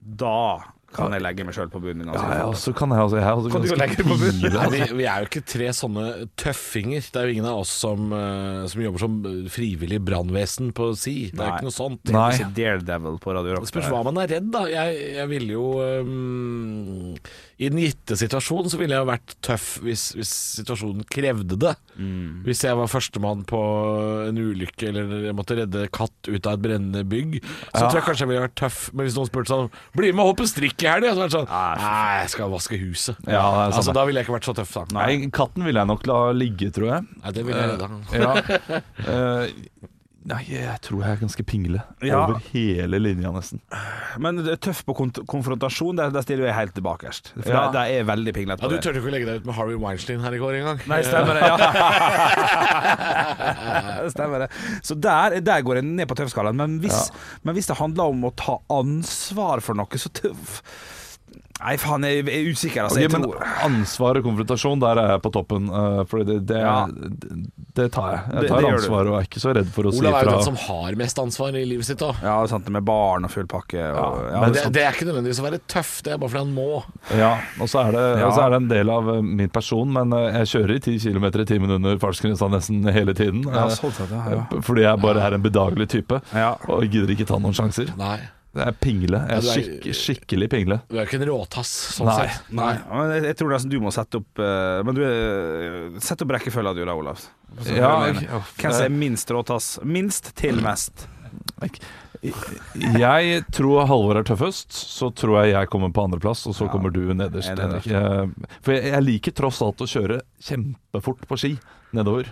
[SPEAKER 3] da kan jeg legge meg sjøl på bunnen. Altså.
[SPEAKER 4] Ja, ja, så kan jeg altså jeg er også
[SPEAKER 3] Kan du
[SPEAKER 4] ganske
[SPEAKER 3] gå lenger på bunnen?
[SPEAKER 4] pivete.
[SPEAKER 5] Nei, vi, vi er jo ikke tre sånne tøffinger. Det er jo ingen av oss som, eh, som jobber som frivillig brannvesen på si. Det er jo
[SPEAKER 3] Nei.
[SPEAKER 5] ikke noe sånt.
[SPEAKER 4] Nei.
[SPEAKER 3] Ikke Altså, Daredevil på Radio Rock.
[SPEAKER 5] Spørs hva man er redd, da. Jeg, jeg ville jo ehm, I den gitte situasjonen så ville jeg jo vært tøff hvis, hvis situasjonen krevde det.
[SPEAKER 4] Mm.
[SPEAKER 5] Hvis jeg var førstemann på en ulykke eller jeg måtte redde katt ut av et brennende bygg, så tror jeg kanskje jeg ville vært tøff. Men hvis noen spurte sånn Bli med og hoppe strikk i helga, så vært sånn Nei, jeg skal vaske huset.
[SPEAKER 4] Ja, det er
[SPEAKER 5] altså,
[SPEAKER 4] sant.
[SPEAKER 5] da ville jeg ikke vært så tøff, da.
[SPEAKER 4] Nei, katten ville jeg nok la ligge, tror jeg.
[SPEAKER 5] Nei, det ville jeg redda.
[SPEAKER 4] Ja. Eh, nei, jeg tror jeg er ganske pingle.
[SPEAKER 3] Ja.
[SPEAKER 4] Over hele linja, nesten.
[SPEAKER 3] Men det er tøff på kont konfrontasjon, der, der stiller jeg helt bakerst. For
[SPEAKER 4] Ja.
[SPEAKER 3] der, der er jeg veldig pinglete.
[SPEAKER 5] Ja,
[SPEAKER 3] på
[SPEAKER 5] Du
[SPEAKER 3] det.
[SPEAKER 5] turte jo ikke å legge deg ut med Harvey Weinstein her i går engang.
[SPEAKER 3] Nei, stemmer det. Ja. stemmer det. Så der, der går jeg ned på tøffskalaen. Men, hvis- men hvis det handler om å ta ansvar for noe, så tøff Nei, faen, jeg jeg er usikker. Altså,
[SPEAKER 4] Ok,
[SPEAKER 3] jeg
[SPEAKER 4] men
[SPEAKER 3] tror
[SPEAKER 4] ansvar og konfrontasjon, der er jeg på toppen. Uh, for det, det,
[SPEAKER 3] Ja.
[SPEAKER 4] det, det tar jeg.
[SPEAKER 3] Det-
[SPEAKER 4] Jeg tar
[SPEAKER 3] det gjør du.
[SPEAKER 4] ansvar og er ikke så redd for å
[SPEAKER 5] Olav
[SPEAKER 4] si
[SPEAKER 5] er jo
[SPEAKER 4] fra.
[SPEAKER 5] den som har mest ansvar i livet sitt òg.
[SPEAKER 3] Ja, det er sant, det med barn og full pakke. Og, ja,
[SPEAKER 5] Men sånn-
[SPEAKER 3] det
[SPEAKER 5] det,
[SPEAKER 3] er sant.
[SPEAKER 5] det er ikke nødvendigvis å være tøff, det er bare fordi han må.
[SPEAKER 4] Ja, og så er, det,
[SPEAKER 3] Ja.
[SPEAKER 4] og så er det en del av eh, min person, men eh, jeg kjører i 10 km i timen under fartsgrensa nesten hele tiden.
[SPEAKER 3] Ja,
[SPEAKER 4] eh,
[SPEAKER 3] sånn sett, ja, ja.
[SPEAKER 4] eh, Fordi jeg bare er en bedagelig type
[SPEAKER 3] Ja.
[SPEAKER 4] og gidder ikke ta noen sjanser.
[SPEAKER 5] Nei.
[SPEAKER 4] Jeg er pingle. Jeg
[SPEAKER 5] Ja,
[SPEAKER 4] er
[SPEAKER 5] du er-
[SPEAKER 4] skikk, skikkelig pingle.
[SPEAKER 5] Du er jo ikke en råtass, sånn
[SPEAKER 4] Nei.
[SPEAKER 5] sett. Nei.
[SPEAKER 3] Ja, men jeg, jeg tror nesten du må sette opp eh, Men du eh, Sett opp rekkefølgen du da, Olav. Så
[SPEAKER 4] Ja,
[SPEAKER 3] hører
[SPEAKER 4] eh,
[SPEAKER 3] vi
[SPEAKER 4] ok.
[SPEAKER 3] Hvem som er minst råtass? Minst til mest.
[SPEAKER 4] Jeg tror Halvor er tøffest, så tror jeg jeg kommer på andreplass, og så kommer du nederst.
[SPEAKER 3] jeg er
[SPEAKER 4] Henrik.
[SPEAKER 3] nederst.
[SPEAKER 4] Eh, For jeg, jeg liker tross alt å kjøre kjempefort på ski nedover.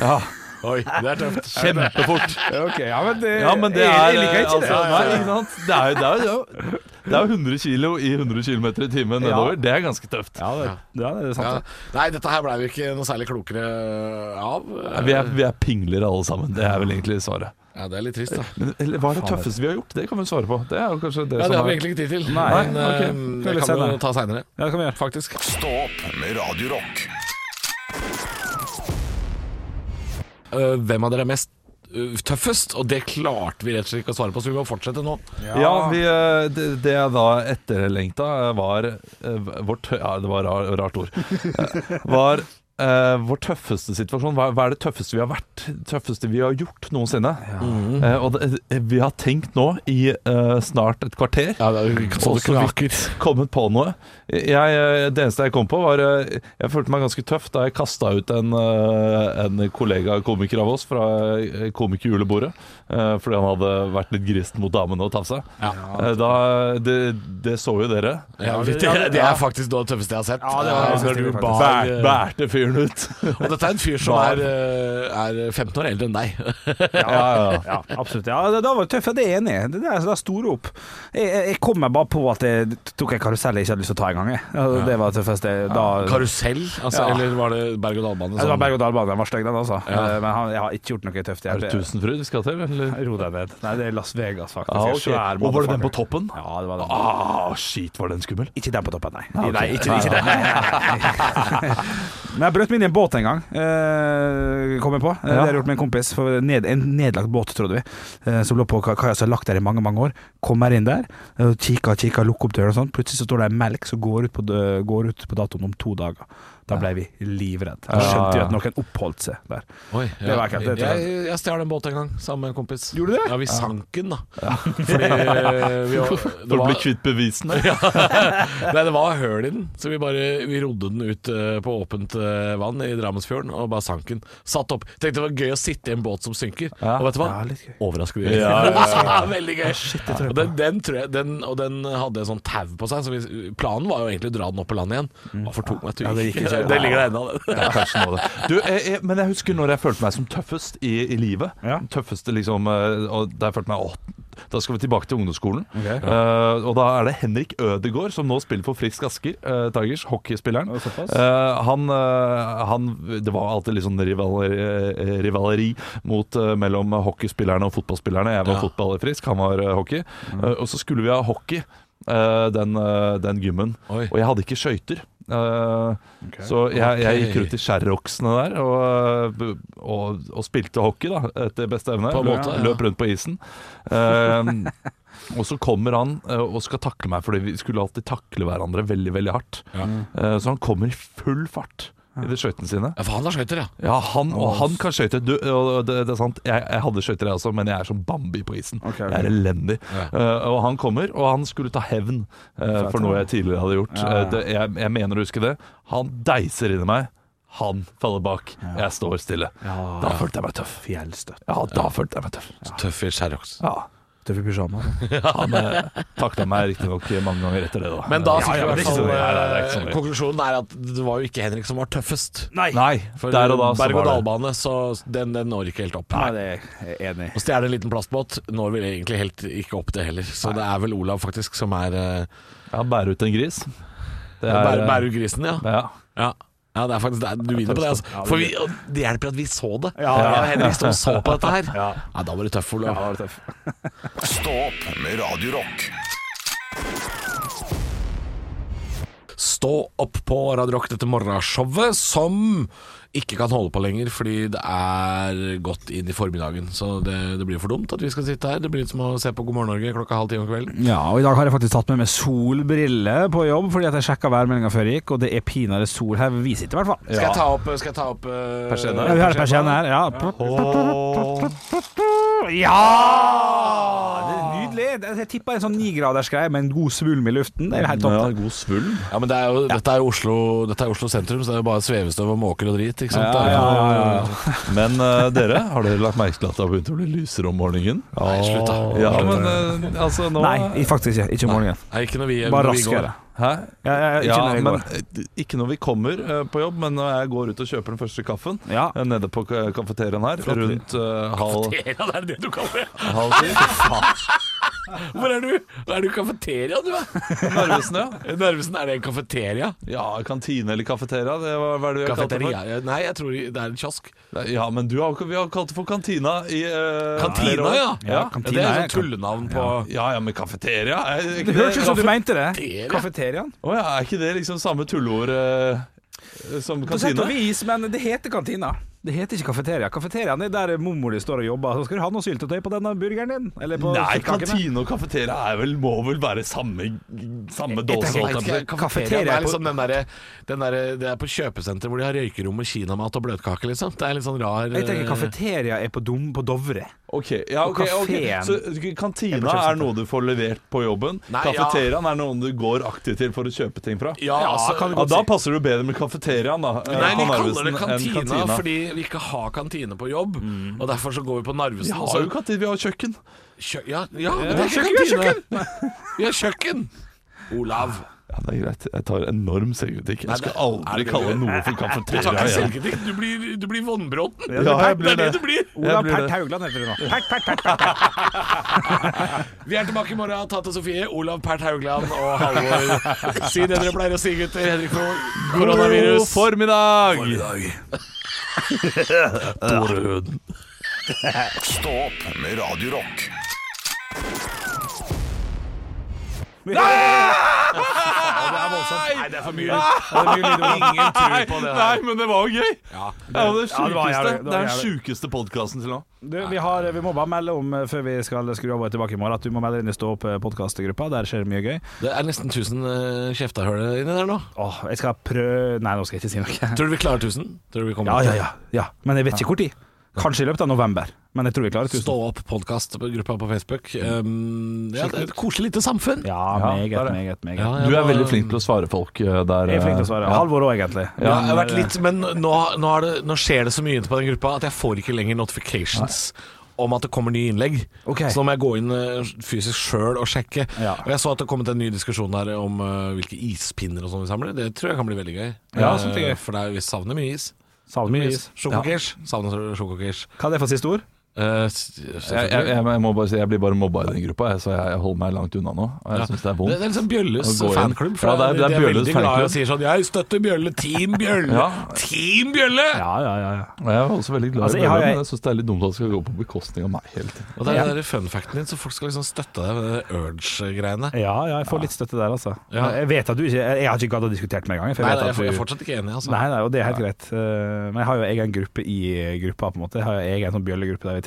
[SPEAKER 4] Ja,
[SPEAKER 5] Oi, det er tøft.
[SPEAKER 4] kjempefort.
[SPEAKER 3] Ok, ja, men det, eh,
[SPEAKER 4] Ja, men det
[SPEAKER 3] jeg-
[SPEAKER 4] er
[SPEAKER 3] Jeg liker ikke
[SPEAKER 4] altså,
[SPEAKER 3] det.
[SPEAKER 4] Nei, ikke sant? Det er jo- det er jo det er jo 100 kilo i 100 km i timen nedover. Det er ganske tøft.
[SPEAKER 3] Ja, det, ja, det er sant.
[SPEAKER 5] Ja.
[SPEAKER 3] det.
[SPEAKER 5] Nei, dette her blei vi ikke noe særlig klokere av.
[SPEAKER 4] Vi er, vi er pingler alle sammen. Det er vel egentlig svaret. altså.
[SPEAKER 5] Ja, Det er litt trist, da.
[SPEAKER 4] Men, eller hva er det tøffeste vi har gjort? Det kan vi jo svare på. Det er jo kanskje det
[SPEAKER 5] Ja,
[SPEAKER 4] som
[SPEAKER 5] Det har vi
[SPEAKER 4] er-
[SPEAKER 5] egentlig ikke tid til.
[SPEAKER 3] Nei,
[SPEAKER 5] men
[SPEAKER 4] ok.
[SPEAKER 3] Det er
[SPEAKER 5] eh, det
[SPEAKER 3] litt
[SPEAKER 5] kan vi
[SPEAKER 3] senere.
[SPEAKER 5] jo ta seinere,
[SPEAKER 3] Ja, det kan vi gjøre.
[SPEAKER 5] faktisk.
[SPEAKER 1] Stå opp med Radio Rock.
[SPEAKER 5] Eh, hvem av dere er mest eh, tøffest? Og det klarte vi rett og slett ikke å svare på, så vi må fortsette nå.
[SPEAKER 4] Ja, vi, eh, det, det jeg da etterlengta, eh, var eh, vårt Ja, det var rar, rart ord. Eh, Var eh, vår tøffeste situasjon. Hva, hva er det tøffeste vi har vært? Tøffeste vi har gjort noensinne? Eh, og det, eh, vi har tenkt nå i eh, snart et kvarter.
[SPEAKER 5] Ja, det er,
[SPEAKER 4] Og så vidt kommet på noe. Jeg, eh, det eneste jeg kom på, var eh, Jeg følte meg ganske tøff da jeg kasta ut en, eh, en kollega komiker av oss fra eh, komikerjulebordet eh, fordi han hadde vært litt grisen mot damene og tafsa.
[SPEAKER 5] Ja.
[SPEAKER 4] Eh, Da, det, det så jo dere.
[SPEAKER 5] Ja, det, det er faktisk noe av det tøffeste jeg har sett.
[SPEAKER 3] Ja, det var det
[SPEAKER 5] Eh, når
[SPEAKER 3] tøffeste
[SPEAKER 5] du
[SPEAKER 3] vi faktisk-
[SPEAKER 5] bar-
[SPEAKER 4] Bær, bærte fyren ut.
[SPEAKER 5] Og dette er en fyr som
[SPEAKER 4] Bar.
[SPEAKER 5] er, eh, er 15 år eldre enn deg.
[SPEAKER 4] Ja, ja.
[SPEAKER 3] Ja, absolutt. Ja, det, det var tøft. ja, Det er jeg enig i. Det der, det der store opp. Jeg, jeg- jeg kom meg bare på at jeg tok en karusell jeg ikke hadde lyst til å ta engang. jeg. Ja, det var det tøffeste. Da,
[SPEAKER 5] Karusell? Altså,
[SPEAKER 3] Ja.
[SPEAKER 5] Eller var det berg-og-dal-bane?
[SPEAKER 3] det var berg-og-dal-bane. Den var stygg, den altså.
[SPEAKER 5] Ja.
[SPEAKER 3] Eh, Men han, jeg har ikke gjort noe tøft. Jeg,
[SPEAKER 4] Er det Tusenfryd vi skal til, eller?
[SPEAKER 3] Ro deg ned. Nei, det er Las Vegas, faktisk.
[SPEAKER 4] Ja, Ah, ok.
[SPEAKER 3] Svær
[SPEAKER 4] Og var det den på
[SPEAKER 3] motherfucker.
[SPEAKER 4] toppen?
[SPEAKER 3] Ja, det var den.
[SPEAKER 4] Ah, shit, var den skummel? Ah,
[SPEAKER 3] Ikke den på toppen, nei. Nei, ikke, ikke den. Nei, nei, nei. Men jeg brøt meg inn i en båt en gang, eh, kom jeg på. Eh, Det har jeg gjort med en kompis. For ned, en nedlagt båt, trodde vi, eh, som lå på ka- kaia som har lagt der i mange mange år. Kommer inn der, eh, kikker, kikker, lukker opp døra og sånn. Plutselig så står det ei melk som går ut, på, dø- går ut på datoen om to dager. Da ble vi livredd.
[SPEAKER 4] Ah,
[SPEAKER 3] Da skjønte vi at noen oppholdt seg der.
[SPEAKER 5] Oi, ja.
[SPEAKER 3] var ekkelt, det tror jeg.
[SPEAKER 5] Jeg, jeg stjal en båt en gang sammen med en kompis.
[SPEAKER 3] Gjorde du det?
[SPEAKER 5] Ja, vi sank den, da. Fordi eh, vi, det,
[SPEAKER 4] For å
[SPEAKER 5] var,
[SPEAKER 4] bli kvitt bevisene?
[SPEAKER 5] nei, det var høl i den, så vi bare vi rodde den ut eh, på åpent eh, vann i Drammensfjorden og bare sank den. Satt opp. Tenkte det var gøy å sitte i en båt som synker.
[SPEAKER 4] Ja.
[SPEAKER 5] Og vet du hva?
[SPEAKER 3] Ja, litt gøy.
[SPEAKER 5] Overraskende gøy.
[SPEAKER 4] Ja, ja,
[SPEAKER 5] Veldig gøy. og den, den tror jeg den, Og den hadde en sånn tau på seg, så vi, planen var jo egentlig å dra den opp på land igjen. Hva for tok meg til
[SPEAKER 3] det gikk ikke.
[SPEAKER 5] Det ligger der ennå, det.
[SPEAKER 4] Ja, kanskje noe av det. Du, jeg, jeg, men jeg husker når jeg følte meg som tøffest i, i livet.
[SPEAKER 3] Ja.
[SPEAKER 4] Tøffeste liksom eh, Og da jeg følte meg åh, da skal vi tilbake til ungdomsskolen.
[SPEAKER 3] Ok.
[SPEAKER 4] Eh, og da er det Henrik Ødegaard, som nå spiller for Frisk Asker eh, Tigers, hockeyspilleren.
[SPEAKER 3] Ja, såpass.
[SPEAKER 4] Eh, han, eh, han Det var alltid litt sånn rivaleri, eh, rivaleri mot, eh, mellom hockeyspillerne og fotballspillerne. Jeg var
[SPEAKER 5] Ja.
[SPEAKER 4] fotballfrisk, han var eh, hockey.
[SPEAKER 3] Mm.
[SPEAKER 4] Eh, og så skulle vi ha hockey, eh, den, eh, den gymmen.
[SPEAKER 5] Oi.
[SPEAKER 4] Og jeg hadde ikke skøyter. Eh, Så jeg, jeg gikk
[SPEAKER 5] Ok.
[SPEAKER 4] rundt i skjærroksene der og, og, og spilte hockey da, etter beste evne.
[SPEAKER 5] På en
[SPEAKER 4] løp,
[SPEAKER 5] måte, ja.
[SPEAKER 4] løp rundt på isen. Eh, og så kommer han eh, og skal takle meg, fordi vi skulle alltid takle hverandre veldig veldig hardt. Eh, så han kommer i full fart i de skøytene sine.
[SPEAKER 5] Ja, faen, han har skøyter, ja.
[SPEAKER 4] Ja, han, og han kan skøyter. Du, og det, det er sant, jeg, jeg hadde skøyter, jeg også, men jeg er som Bambi på isen.
[SPEAKER 3] Ok, ok.
[SPEAKER 4] Jeg er elendig. Eh, og han kommer, og han skulle ta hevn eh, for noe jeg tidligere hadde gjort.
[SPEAKER 3] Ja, ja.
[SPEAKER 4] Eh, det, jeg, jeg mener å huske det. Han deiser inn i meg. Han faller bak. Jeg står stille. Da følte jeg meg tøff.
[SPEAKER 3] Fjellstøtt.
[SPEAKER 4] Ja, da følte jeg meg tøff.
[SPEAKER 5] Tøff i skjærroks.
[SPEAKER 4] Ja.
[SPEAKER 3] Tøffe pysjama.
[SPEAKER 4] Han eh, takla meg riktignok mange ganger etter det, da.
[SPEAKER 5] Men da
[SPEAKER 4] ja,
[SPEAKER 5] fikk
[SPEAKER 4] ja,
[SPEAKER 5] vi
[SPEAKER 4] det
[SPEAKER 5] i hvert
[SPEAKER 4] er ikke
[SPEAKER 5] fall
[SPEAKER 4] så- Nei, nei, det er ikke
[SPEAKER 5] eh,
[SPEAKER 4] så mye.
[SPEAKER 5] Konklusjonen er at det var jo ikke Henrik som var tøffest.
[SPEAKER 3] Nei!
[SPEAKER 4] Nei,
[SPEAKER 5] For
[SPEAKER 4] der og da så var det
[SPEAKER 5] berg-og-dal-bane, så den, den når ikke helt opp.
[SPEAKER 3] Nei, det er jeg enig i.
[SPEAKER 5] Å stjele en liten plastbåt når vel egentlig helt ikke opp det heller. Så det er vel Olav faktisk som er uh,
[SPEAKER 4] Ja, bære ut en gris. Det
[SPEAKER 5] bærer
[SPEAKER 4] eh,
[SPEAKER 5] grisen, ja.
[SPEAKER 4] ja.
[SPEAKER 5] ja. Ja, det er faktisk det. er- Du vinner på det, altså. For vi, og det hjelper at vi så det. Ja,
[SPEAKER 3] Ja.
[SPEAKER 5] Henrik som så på dette her. Ja, da var du tøff, Olav.
[SPEAKER 3] Ja, det er tøff.
[SPEAKER 1] Stå opp med Radio Rock.
[SPEAKER 5] Stå opp på Radio Rock dette morgenshowet, som ikke kan holde på lenger fordi det er godt inn i formiddagen. Så det, det blir for dumt at vi skal sitte her. Det blir litt som å se på God morgen Norge klokka halv ti om kvelden.
[SPEAKER 3] Ja, og i dag har jeg faktisk tatt med meg solbriller på jobb, fordi at jeg sjekka værmeldinga før jeg gikk, og det er pinadø sol her. Vi sitter i hvert fall.
[SPEAKER 5] Skal jeg ta opp, skal jeg ta opp eh,
[SPEAKER 4] Persienna?
[SPEAKER 3] Ja, vi har en persienne her. Ja.
[SPEAKER 4] Åh.
[SPEAKER 3] Oslo. Ja! Det er nydelig. Det- Jeg tippa en sånn nigraders greie med en god svulm i luften. Det er jo helt topp.
[SPEAKER 4] god svulm.
[SPEAKER 5] Ja, men det er jo, Dette, er jo Oslo, dette er jo Oslo sentrum, så det er jo bare svevestøv og måker og drit. Ikke sant? Det er jo-
[SPEAKER 4] Men eh, dere, har dere lagt merke til at det har begynt å bli lysere om morgenen?
[SPEAKER 5] Nei, slutt, da.
[SPEAKER 4] Ja, men eh, altså nå
[SPEAKER 3] Nei, faktisk ikke. Ikke om morgenen.
[SPEAKER 5] Nei, ikke når vi,
[SPEAKER 3] Bare
[SPEAKER 5] når vi går.
[SPEAKER 3] raskere.
[SPEAKER 4] Hæ?
[SPEAKER 3] Ja, ja, ja, ikke
[SPEAKER 4] Ja,
[SPEAKER 3] når jeg
[SPEAKER 4] men
[SPEAKER 3] går.
[SPEAKER 4] eh, ikke når vi kommer eh, på jobb, men når jeg går ut og kjøper den første kaffen
[SPEAKER 3] Ja.
[SPEAKER 4] eh, nede på ka- kafeteriaen her, rundt eh, halv,
[SPEAKER 5] Kafeteria, det er det du kaller det?
[SPEAKER 4] halv ti.
[SPEAKER 5] Hvor er du? Er du i kafeteria, du? er?
[SPEAKER 4] Narvesen, ja.
[SPEAKER 5] Narvesen, er det en kafeteria?
[SPEAKER 4] Ja, kantine eller kafeteria, det var hva er det vi har kalt det for?
[SPEAKER 5] Kafeteria? Nei, jeg tror det er en kiosk.
[SPEAKER 4] Nei, Ja, men du har, ikke- vi har kalt det for kantina i eh, flere
[SPEAKER 5] Kantina,
[SPEAKER 4] år.
[SPEAKER 5] ja.
[SPEAKER 3] Ja, kantina
[SPEAKER 5] det er
[SPEAKER 3] er-
[SPEAKER 5] et sånt tullenavn på
[SPEAKER 4] sånn Ja, ja, men kafeteria er ikke
[SPEAKER 3] Det hørtes ut som du
[SPEAKER 4] kafe-
[SPEAKER 3] mente det. Kafeteriaen.
[SPEAKER 4] Å ja, er ikke det liksom samme tulleord eh, som
[SPEAKER 3] På sett
[SPEAKER 4] kantina?
[SPEAKER 3] og vis, men det heter kantina. Det heter ikke kafeteria. Kafeteriaen er der mormor di står og jobber. Så skal du ha noe syltetøy på denne burgeren din. Eller på
[SPEAKER 4] Nei,
[SPEAKER 3] kjøttkakene.
[SPEAKER 4] kantine og kafeteria er vel, må vel være samme, samme dåse.
[SPEAKER 5] Nei,
[SPEAKER 4] holdt jeg på å si.
[SPEAKER 5] Kafeteria det
[SPEAKER 3] Kafeteria
[SPEAKER 5] er liksom den derre den derre- Det er på kjøpesenter hvor de har røykerom og kinamat og bløtkake, liksom. Det er litt sånn rar
[SPEAKER 3] Jeg tenker
[SPEAKER 5] eh,
[SPEAKER 3] kafeteria er på, dom, på Dovre.
[SPEAKER 4] Ok, ja,
[SPEAKER 3] Og
[SPEAKER 4] ok, ok.
[SPEAKER 3] kafeen.
[SPEAKER 4] Så kantina
[SPEAKER 3] kjøpesenter.
[SPEAKER 4] er noe du får levert på jobben.
[SPEAKER 5] Nei, ja.
[SPEAKER 4] Kafeteriaen er noe du går aktivt til for å kjøpe ting fra.
[SPEAKER 5] Ja, altså,
[SPEAKER 4] Ja, da passer du bedre med kafeteriaen, da. eh,
[SPEAKER 5] Nei, vi
[SPEAKER 4] på
[SPEAKER 5] kaller det
[SPEAKER 4] Narvesen enn
[SPEAKER 5] kantina, fordi vi ikke har kantine på jobb.
[SPEAKER 4] Mm.
[SPEAKER 5] Og derfor så går vi på
[SPEAKER 4] Vi
[SPEAKER 5] Narvesen.
[SPEAKER 4] har
[SPEAKER 5] og så-
[SPEAKER 4] jo kantine, vi har kjøkken.
[SPEAKER 5] Kjø ja, ja,
[SPEAKER 4] vi
[SPEAKER 5] men det er
[SPEAKER 4] har
[SPEAKER 5] ikke kantine! Vi har kjøkken! Olav.
[SPEAKER 4] Ja, det er greit. Jeg tar enorm selvkritikk.
[SPEAKER 5] Nei,
[SPEAKER 4] Jeg skal
[SPEAKER 5] det- er
[SPEAKER 4] aldri
[SPEAKER 5] det-
[SPEAKER 4] kalle noe for
[SPEAKER 5] Du tar
[SPEAKER 4] kafeteria
[SPEAKER 5] ikke
[SPEAKER 4] igjen.
[SPEAKER 5] selvkritikk, du blir, du blir vannbråten.
[SPEAKER 4] Ja, jeg
[SPEAKER 5] det
[SPEAKER 4] blir
[SPEAKER 5] er
[SPEAKER 4] det.
[SPEAKER 5] det du blir.
[SPEAKER 3] Olav
[SPEAKER 4] blir
[SPEAKER 3] Pert
[SPEAKER 4] det.
[SPEAKER 3] Haugland heter det nå. Pert, pert, pert, pert.
[SPEAKER 5] Vi er tilbake i morgen. Tante Sofie, Olav Pert Haugland og Halvor. Si det dere pleier å si, gutter. Henrik Moe,
[SPEAKER 4] God
[SPEAKER 5] koronavirus.
[SPEAKER 4] formiddag!
[SPEAKER 1] Stå opp med Radio Rock.
[SPEAKER 5] Nei, det er for mye. Det er mye lyd. Ingen tror på det
[SPEAKER 4] Nei,
[SPEAKER 5] her.
[SPEAKER 4] men det var jo gøy!
[SPEAKER 5] Ja.
[SPEAKER 4] Det er jo det
[SPEAKER 3] Ja, det var
[SPEAKER 4] sjukeste.
[SPEAKER 3] jævlig. Det var
[SPEAKER 4] Det er den
[SPEAKER 3] jævlig.
[SPEAKER 4] sjukeste podkasten til nå.
[SPEAKER 3] Du, vi, har, vi må bare melde om eh, før vi skal skru av og tilbake i morgen, at du må melde inn i Stå opp-podkastgruppa. Der skjer det mye gøy.
[SPEAKER 5] Det er nesten 1000 eh, kjeftehull inni der nå.
[SPEAKER 3] Åh, jeg skal prøve Nei, nå skal jeg ikke si noe.
[SPEAKER 5] Tror du vi klarer 1000? Tror du vi
[SPEAKER 3] Ja,
[SPEAKER 5] kommer
[SPEAKER 3] ja, ja. ja. Men jeg vet ikke hvor tid. Kanskje i løpet av november. Men jeg tror vi klarer
[SPEAKER 5] Stå
[SPEAKER 3] 1000.
[SPEAKER 5] opp podkast-gruppa på Facebook. Um, ja, det er et koselig lite samfunn.
[SPEAKER 3] Ja,
[SPEAKER 4] Mm. Ja,
[SPEAKER 3] meget,
[SPEAKER 4] der er det.
[SPEAKER 3] meget, meget.
[SPEAKER 5] Ja,
[SPEAKER 4] Du
[SPEAKER 5] jeg
[SPEAKER 4] er
[SPEAKER 5] var-
[SPEAKER 4] veldig flink til å svare folk eh, der.
[SPEAKER 3] Jeg er flink til å
[SPEAKER 4] eh,
[SPEAKER 3] svare.
[SPEAKER 4] ja.
[SPEAKER 3] Halvor òg, egentlig. eh,
[SPEAKER 5] Ja, jeg har vært litt, men nå, nå, har det, nå skjer det så mye på den gruppa at jeg får ikke lenger notifications om at det kommer nye innlegg.
[SPEAKER 3] Ok.
[SPEAKER 5] Så nå må jeg gå inn eh, fysisk sjøl og sjekke.
[SPEAKER 3] Ja.
[SPEAKER 5] Og jeg så at det har kommet en ny diskusjon her om eh, hvilke ispinner og sånn vi samler. Det tror jeg kan bli veldig gøy.
[SPEAKER 3] Ja, sånt er
[SPEAKER 5] Eh,
[SPEAKER 3] gøy.
[SPEAKER 5] For det er, vi savner mye is.
[SPEAKER 3] Salmis.
[SPEAKER 5] Sjokokirs. Savner sjokokirs.
[SPEAKER 3] Hva er det for siste ord?
[SPEAKER 5] Eh, s- selvfølgelig.
[SPEAKER 4] Jeg, jeg, jeg, jeg må bare si, jeg blir bare mobba i den gruppa, jeg, så jeg, jeg holder meg langt unna nå. Og jeg synes det er
[SPEAKER 5] Det,
[SPEAKER 4] vondt.
[SPEAKER 5] det er liksom Bjølles
[SPEAKER 4] Å gå inn.
[SPEAKER 5] fanklubb. For
[SPEAKER 4] Ja, det er- det er
[SPEAKER 5] de
[SPEAKER 4] Bjølles
[SPEAKER 5] veldig glad i
[SPEAKER 4] fanklubb.
[SPEAKER 5] og sier sånn 'Jeg støtter Bjølle, Team Bjølle'!
[SPEAKER 4] Ja.
[SPEAKER 5] Team Bjølle!
[SPEAKER 3] Ja, ja, ja. ja.
[SPEAKER 4] Og Jeg er også veldig glad
[SPEAKER 3] Altså,
[SPEAKER 4] i
[SPEAKER 3] jeg
[SPEAKER 4] det,
[SPEAKER 3] har-
[SPEAKER 4] men jeg syns det er litt dumt at det skal gå på bekostning av meg hele tiden.
[SPEAKER 5] Og det er den der fun facten din, så folk skal liksom støtte deg med det urge-greiene.
[SPEAKER 3] Ja, ja, jeg får litt støtte der, altså.
[SPEAKER 5] Ja.
[SPEAKER 3] Jeg vet at du ikke Jeg jeg har ikke gadd å diskutere med en gang. For
[SPEAKER 5] Nei,
[SPEAKER 3] jeg
[SPEAKER 5] nei,
[SPEAKER 3] vet at
[SPEAKER 5] jeg er- jeg er
[SPEAKER 3] du
[SPEAKER 5] fortsatt ikke enig, altså.
[SPEAKER 3] Nei, nei, og det er helt greit. Eh, Men jeg har jo egen gruppe i gruppa, på en måte. Jeg har jo egen sånn bjøllegruppe der vi er